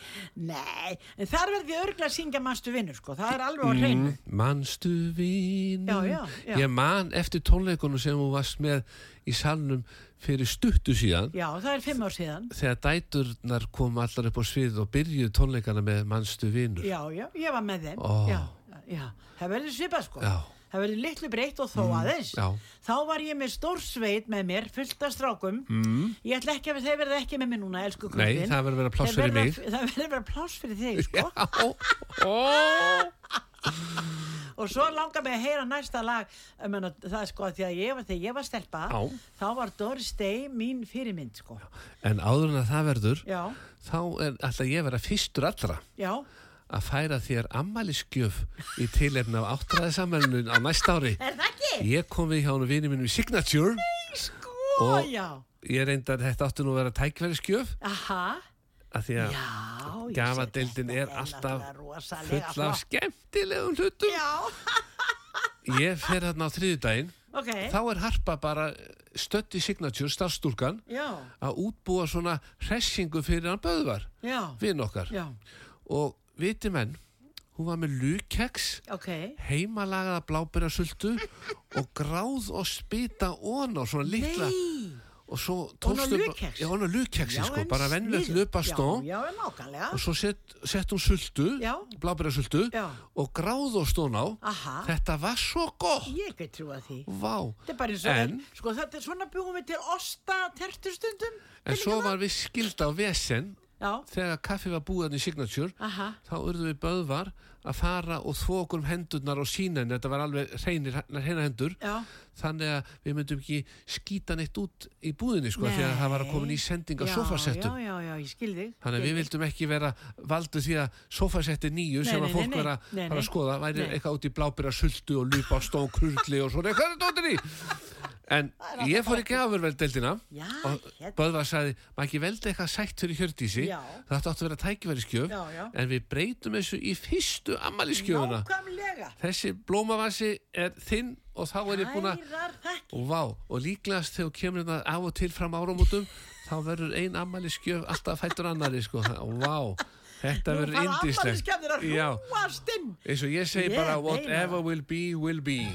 [SPEAKER 4] nei, en þar verði ég örgla að syngja mannstu vinnur, sko, það er alveg á hreinu.
[SPEAKER 3] Mm, Manstu vín
[SPEAKER 4] Já, já, já.
[SPEAKER 3] Ég man eftir tónleikunum sem þú varst með í salnum fyrir stuttu síðan
[SPEAKER 4] Já, það er fimm ár síðan.
[SPEAKER 3] þegar dæturnar kom allar upp á svið og byrjuðu tónleikana með Manstu vinur
[SPEAKER 4] Já, já, ég var með þeim,
[SPEAKER 3] Ó.
[SPEAKER 4] já, já, það verður svipað, sko.
[SPEAKER 3] Já. Mhm.
[SPEAKER 4] Það verður litlu breytt og þó aðeins.
[SPEAKER 3] já.
[SPEAKER 4] Þá var ég með stór sveit með mér, fullt af strákum. Mm. Ég ætla ekki að þeir verða ekki með mér núna, elsku
[SPEAKER 3] Nei,
[SPEAKER 4] kvöldin.
[SPEAKER 3] það verður að vera pláss fyrir mig
[SPEAKER 4] Það verður að vera pláss fyrir þig, sko.
[SPEAKER 3] Já, ó,
[SPEAKER 4] og svo langar mig að heyra næsta lag um hana, það er sko því að ég var þegar ég var stelpa
[SPEAKER 3] Já.
[SPEAKER 4] þá var Doris Day mín fyrirmynd sko
[SPEAKER 3] En áður en að það verður
[SPEAKER 4] já,
[SPEAKER 3] þá er alltaf ég að vera fyrstur allra
[SPEAKER 4] já,
[SPEAKER 3] að færa þér ammælisgjöf í tilefni af áttræðisamælunum á næsta ári
[SPEAKER 4] er það ekki?
[SPEAKER 3] Ég kom við hjá hann og vinið minn í Signature
[SPEAKER 4] sko,
[SPEAKER 3] Og-
[SPEAKER 4] já,
[SPEAKER 3] Ég reyndi að þetta átti nú að vera tækverðisgjöf
[SPEAKER 4] aha
[SPEAKER 3] að því að
[SPEAKER 4] já, ég
[SPEAKER 3] gafadeildin
[SPEAKER 4] sé,
[SPEAKER 3] er
[SPEAKER 4] þetta
[SPEAKER 3] alltaf
[SPEAKER 4] náttúrulega rosalega
[SPEAKER 3] full af
[SPEAKER 4] flott.
[SPEAKER 3] skemmtilegum hlutum
[SPEAKER 4] já,
[SPEAKER 3] Ég fer þarna á þriðudaginn
[SPEAKER 4] ok,
[SPEAKER 3] þá er Harpa bara stödd í Signature, starfstúlkan
[SPEAKER 4] já,
[SPEAKER 3] að útbúa svona hressingu fyrir hann Böðvar,
[SPEAKER 4] já
[SPEAKER 3] vinn okkar
[SPEAKER 4] já,
[SPEAKER 3] og viti menn, hún var með lukeks
[SPEAKER 4] ok
[SPEAKER 3] heimalagaða blábærasultu og gráð og spita on á svona litla
[SPEAKER 4] nei,
[SPEAKER 3] og svo
[SPEAKER 4] Ofan á
[SPEAKER 3] tókstu
[SPEAKER 4] lukkex?
[SPEAKER 3] já, on á lukeksi sko,
[SPEAKER 4] en
[SPEAKER 3] bara vennilegt
[SPEAKER 4] sniðugt.
[SPEAKER 3] lupastón
[SPEAKER 4] já, já, nákvæmlega
[SPEAKER 3] og svo sett, sett hún sultu
[SPEAKER 4] Já.
[SPEAKER 3] blábærasultu
[SPEAKER 4] Já.
[SPEAKER 3] og gráð og stón á
[SPEAKER 4] Aha.
[SPEAKER 3] þetta var svo gott
[SPEAKER 4] Ah. ég get trúa því
[SPEAKER 3] Vá,
[SPEAKER 4] Þetta er bara eins og,
[SPEAKER 3] en,
[SPEAKER 4] sko þetta er svona búum við til osta tertustundum.
[SPEAKER 3] en svo var við skilda á vesen
[SPEAKER 4] Já, Ah.
[SPEAKER 3] þegar kaffi var búið hann í Signature
[SPEAKER 4] aha,
[SPEAKER 3] þá urðum við böðvar að fara og þvó okkur um hendurnar og sína henni, þetta var alveg hreinir, hreina hendur
[SPEAKER 4] já,
[SPEAKER 3] þannig að við myndum ekki skýta neitt út í búðinni sko
[SPEAKER 4] Nei.
[SPEAKER 3] því að það var að koma í sending á
[SPEAKER 4] já,
[SPEAKER 3] sofasettum
[SPEAKER 4] Já, já, já, ég skil þig.
[SPEAKER 3] þannig að við vildum ekki vera valdu því að sofasetti nýju
[SPEAKER 4] Nei,
[SPEAKER 3] sem
[SPEAKER 4] nei,
[SPEAKER 3] að fólk
[SPEAKER 4] nei, nei.
[SPEAKER 3] vera
[SPEAKER 4] Nei,
[SPEAKER 3] bara að
[SPEAKER 4] nei.
[SPEAKER 3] skoða væri
[SPEAKER 4] Nei.
[SPEAKER 3] eitthvað út í blábyrra sultu og ljúpa á stón krulli og svona eitthvað er dóttir í en ég fór í gafurveldeldina
[SPEAKER 4] Já,
[SPEAKER 3] og
[SPEAKER 4] hérna.
[SPEAKER 3] Böðvar sagði maður ekki veldi eitthvað sætt fyrir hjördísi
[SPEAKER 4] Já.
[SPEAKER 3] það átti að vera tækifæriskjöf
[SPEAKER 4] Já, já.
[SPEAKER 3] en við breytum þessu í fyrstu ammaliskjöfuna
[SPEAKER 4] Nákvæmlega.
[SPEAKER 3] þessi blómavasi er þinn og þá er ég búin að
[SPEAKER 4] Ærar þakki.
[SPEAKER 3] og vá, og líklegast þegar þú kemur þetta af og til fram áramótum þá verður ein ammaliskjöf alltaf fættur annari sko, og vá, þetta verður indislegt
[SPEAKER 4] Ammaliskefnir að
[SPEAKER 3] Já,
[SPEAKER 4] hrúast inn.
[SPEAKER 3] eins og ég segi
[SPEAKER 4] Ég
[SPEAKER 3] bara
[SPEAKER 4] meina
[SPEAKER 3] whatever
[SPEAKER 4] það.
[SPEAKER 3] will be, will be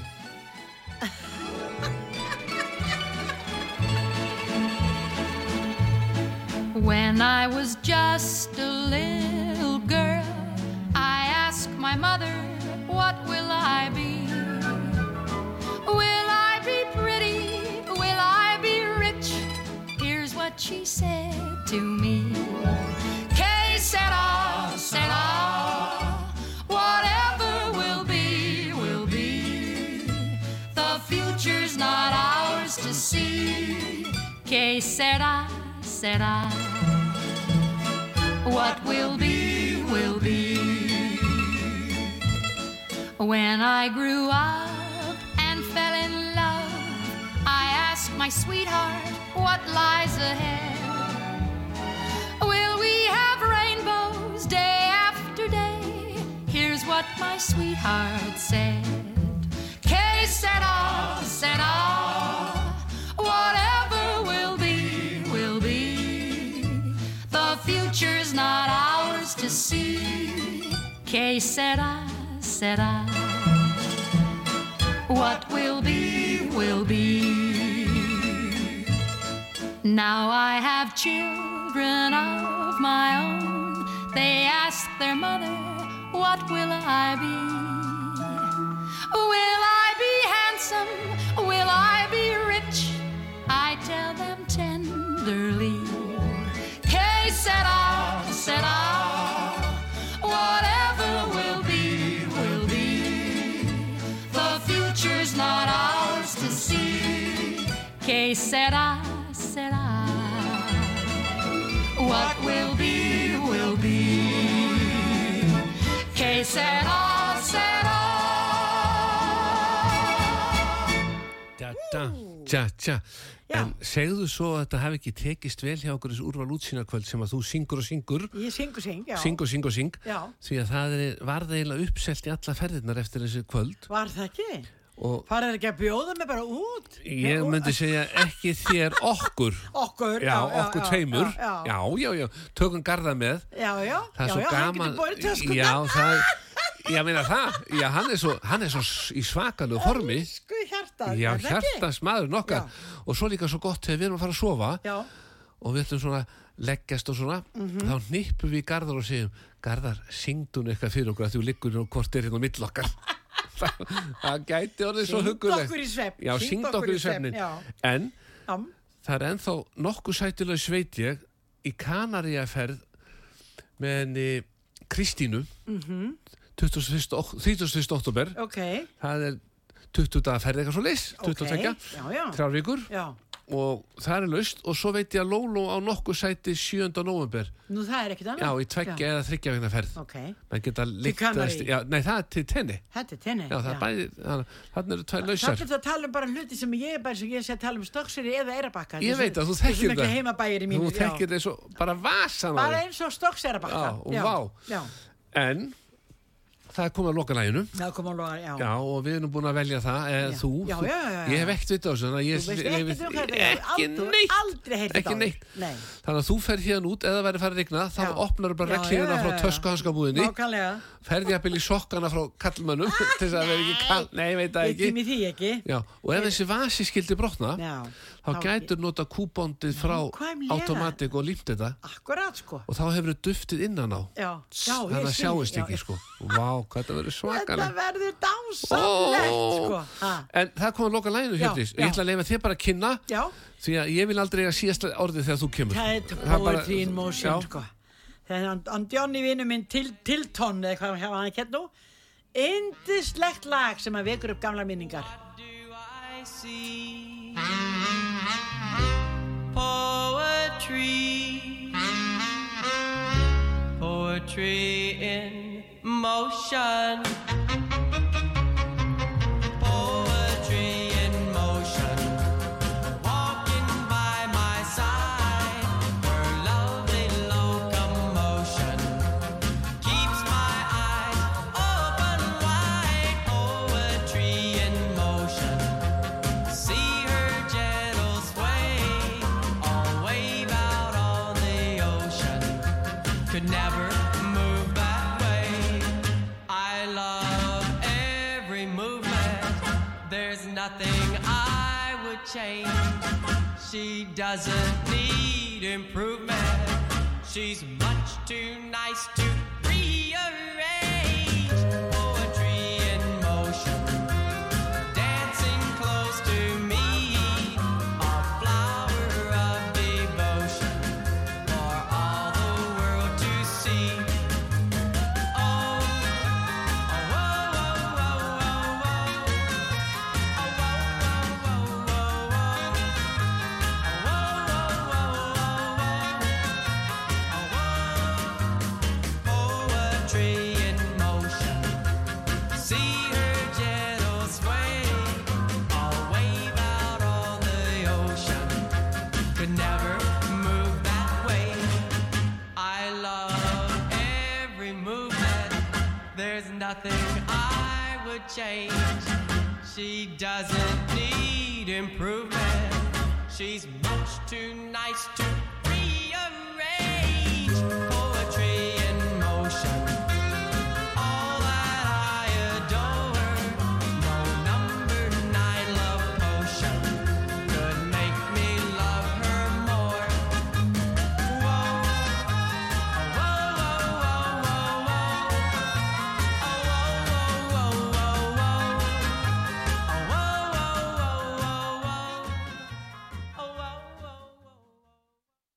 [SPEAKER 10] When I was just a little girl, I asked my mother, What will I be? Will I be pretty? Will I be rich? Here's what she said to me. Que sera, sera. Whatever will be, will be. The future's not ours to see. Que sera, sera. What will be, will be. When I grew up and fell in love, I asked my sweetheart what lies ahead. Will we have rainbows day after day? Here's what my sweetheart said. K said all, said all. Whatever will be, will be. The future's not ours to see. K said I, said I. What will be, will be. Now I have children of my own. They ask their mother, What will I be? Will I be handsome? Will I be rich? I tell them tenderly. K said I, said I. Whatever will be, will be. The future's not ours to see. Que será, será. What will be, will be. Que será, será.
[SPEAKER 3] Tja, tja, tja, tja. En segðu svo að þetta hafi ekki tekist vel hjá okkur þessu úrval útsýna kvöld sem að þú syngur og syngur,
[SPEAKER 4] Ég syngu syng, já.
[SPEAKER 3] syng og syng og syng,
[SPEAKER 4] Já.
[SPEAKER 3] því að það er, varð eiginlega uppselt í alla ferðirnar eftir þessu kvöld
[SPEAKER 4] Var það ekki?
[SPEAKER 3] og
[SPEAKER 4] Farið þið ekki að bjóða mig bara út?
[SPEAKER 3] ég myndi segja ekki þér okkur,
[SPEAKER 4] Okkur,
[SPEAKER 3] já, okkur tveimur,
[SPEAKER 4] Já, já,
[SPEAKER 3] já, já, já, tökum garða með,
[SPEAKER 4] já, já,
[SPEAKER 3] það er
[SPEAKER 4] já,
[SPEAKER 3] svo
[SPEAKER 4] já, hann
[SPEAKER 3] gaman,
[SPEAKER 4] getur borið sko töskuna.
[SPEAKER 3] já, það, ég meina það, já, hann er svo, hann er svo s- í svakalegu formi,
[SPEAKER 4] Elsku hjartað,
[SPEAKER 3] já,
[SPEAKER 4] er það ekki?
[SPEAKER 3] hjartast maður nokkar og svo líka svo gott þegar við erum að fara að sofa
[SPEAKER 4] Já, Mhm.
[SPEAKER 3] og við ætlum svona leggjast og svona þá hnippum við í Garðar og segjum Garðar, syngdu hún eitthvað fyrir okkur að þú liggur nú hvort er hérna á milli okkar Það- það gæti orðið svo
[SPEAKER 4] Syngdu
[SPEAKER 3] hugulegt
[SPEAKER 4] okkur í svefn,
[SPEAKER 3] já,
[SPEAKER 4] syngdu
[SPEAKER 3] syngdu okkur í svefnin
[SPEAKER 4] já.
[SPEAKER 3] en
[SPEAKER 4] já,
[SPEAKER 3] það er ennþá nokkuð sætilega sveit ég í Kanaríaferð með henni Kristínu mm 21. ok- 31. oktober
[SPEAKER 4] Mhm. ok,
[SPEAKER 3] það er 20 daga ferð eitthvað svo leys 22,
[SPEAKER 4] ok, já, já,
[SPEAKER 3] þrjár vikur
[SPEAKER 4] já,
[SPEAKER 3] og það er laust og svo veit ég að Lóló á nokkuð sæti 7. november
[SPEAKER 4] nú það er ekkert
[SPEAKER 3] já,
[SPEAKER 4] annað.
[SPEAKER 3] í tveggja eða þryggja vegna ferð
[SPEAKER 4] Ah, Ok,
[SPEAKER 3] menn geta líktast
[SPEAKER 4] Kanarí.
[SPEAKER 3] já, nei, það er til tenni
[SPEAKER 4] þetta er tenni.
[SPEAKER 3] já, það er bæði, þannig þannig eru tvær
[SPEAKER 4] Samt
[SPEAKER 3] lausar
[SPEAKER 4] er það að tala um bara hluti sem ég er bara sem ég sé að tala um stökseri eða erabakka.
[SPEAKER 3] ég veit að þú
[SPEAKER 4] Þessum
[SPEAKER 3] þekkir
[SPEAKER 4] ekki heimabægir í mínu,
[SPEAKER 3] þú þekkir þessu bara vasan á
[SPEAKER 4] Bara
[SPEAKER 3] þér.
[SPEAKER 4] eins og
[SPEAKER 3] Já,
[SPEAKER 4] stokserabakka.
[SPEAKER 3] og vá.
[SPEAKER 4] Já,
[SPEAKER 3] en það er komið að loka læginu
[SPEAKER 4] það kom að loga, já.
[SPEAKER 3] já, og við erum búin að velja það eða
[SPEAKER 4] Já.
[SPEAKER 3] þú,
[SPEAKER 4] Já,
[SPEAKER 3] þú-
[SPEAKER 4] já, já, já.
[SPEAKER 3] ég hef ekkert vitað á þessu þannig að ég-
[SPEAKER 4] Þú veist
[SPEAKER 3] ég-
[SPEAKER 4] ekkert um hvað þetta er.
[SPEAKER 3] ekki
[SPEAKER 4] Aldrei-
[SPEAKER 3] neitt
[SPEAKER 4] Aldrei heyrði
[SPEAKER 3] ekki neitt
[SPEAKER 4] Nei.
[SPEAKER 3] Þannig að þú ferð hérna út eða verður farið regna þá
[SPEAKER 4] Já.
[SPEAKER 3] opnar
[SPEAKER 4] Já,
[SPEAKER 3] bara reglíðina
[SPEAKER 4] já, já,
[SPEAKER 3] frá
[SPEAKER 4] já.
[SPEAKER 3] töskuhanskabúðinni
[SPEAKER 4] Nákvæmlega.
[SPEAKER 3] ferði að byrja í sokkana frá kallmönnum til þess að það verði ekki kall Nei, ég veit það
[SPEAKER 4] Ekki
[SPEAKER 3] ekki
[SPEAKER 4] mér því ekki.
[SPEAKER 3] Já, og ef þessi vasi skildi brotna
[SPEAKER 4] Já.
[SPEAKER 3] þá gætur nota kúbondið frá
[SPEAKER 4] Nákvæmlega.
[SPEAKER 3] automatik og límt þetta
[SPEAKER 4] Akkurát, sko.
[SPEAKER 3] og þá hefur þau duftið innan á
[SPEAKER 4] Já, já, ég
[SPEAKER 3] þannig að
[SPEAKER 4] skil,
[SPEAKER 3] sjáist
[SPEAKER 4] já,
[SPEAKER 3] ekki
[SPEAKER 4] já.
[SPEAKER 3] sko Vá, hvað þetta verður
[SPEAKER 4] Þetta
[SPEAKER 3] svakalegt
[SPEAKER 4] verður dásamlegt, sko. Ha.
[SPEAKER 3] En það kom að loka læginu
[SPEAKER 4] Já,
[SPEAKER 3] Hjördís
[SPEAKER 4] já.
[SPEAKER 3] Ég ætla að leifa þér bara að kynna
[SPEAKER 4] Já,
[SPEAKER 3] Því að ég vil aldrei að síðast orðið þegar þú kemur
[SPEAKER 4] það er
[SPEAKER 3] bara-
[SPEAKER 4] poetry in motion,
[SPEAKER 3] Já.
[SPEAKER 4] sko. Þannig að Johnny vinnu minn til, Tilton, eða hvað hann hefði kett nú, indislegt lag sem að vekur upp gamla minningar.
[SPEAKER 11] I see poetry, poetry in motion, poetry in motion, walking by my side, her lovely locomotion keeps my eyes open wide. Poetry in motion. See her gentle sway, all wave out on the ocean. Could never move that way. I love every movement. There's nothing I would change. She doesn't need improvement. She's much too nice to rearrange. Poetry in motion dancing close to me, a flower of devotion for all the world to see. Oh, oh, oh, oh, oh, oh, oh. Oh, oh, oh, oh, oh, oh. Oh, oh, oh, oh, oh, oh. Oh, oh. There's nothing I would change. She doesn't need improvement. She's much too nice to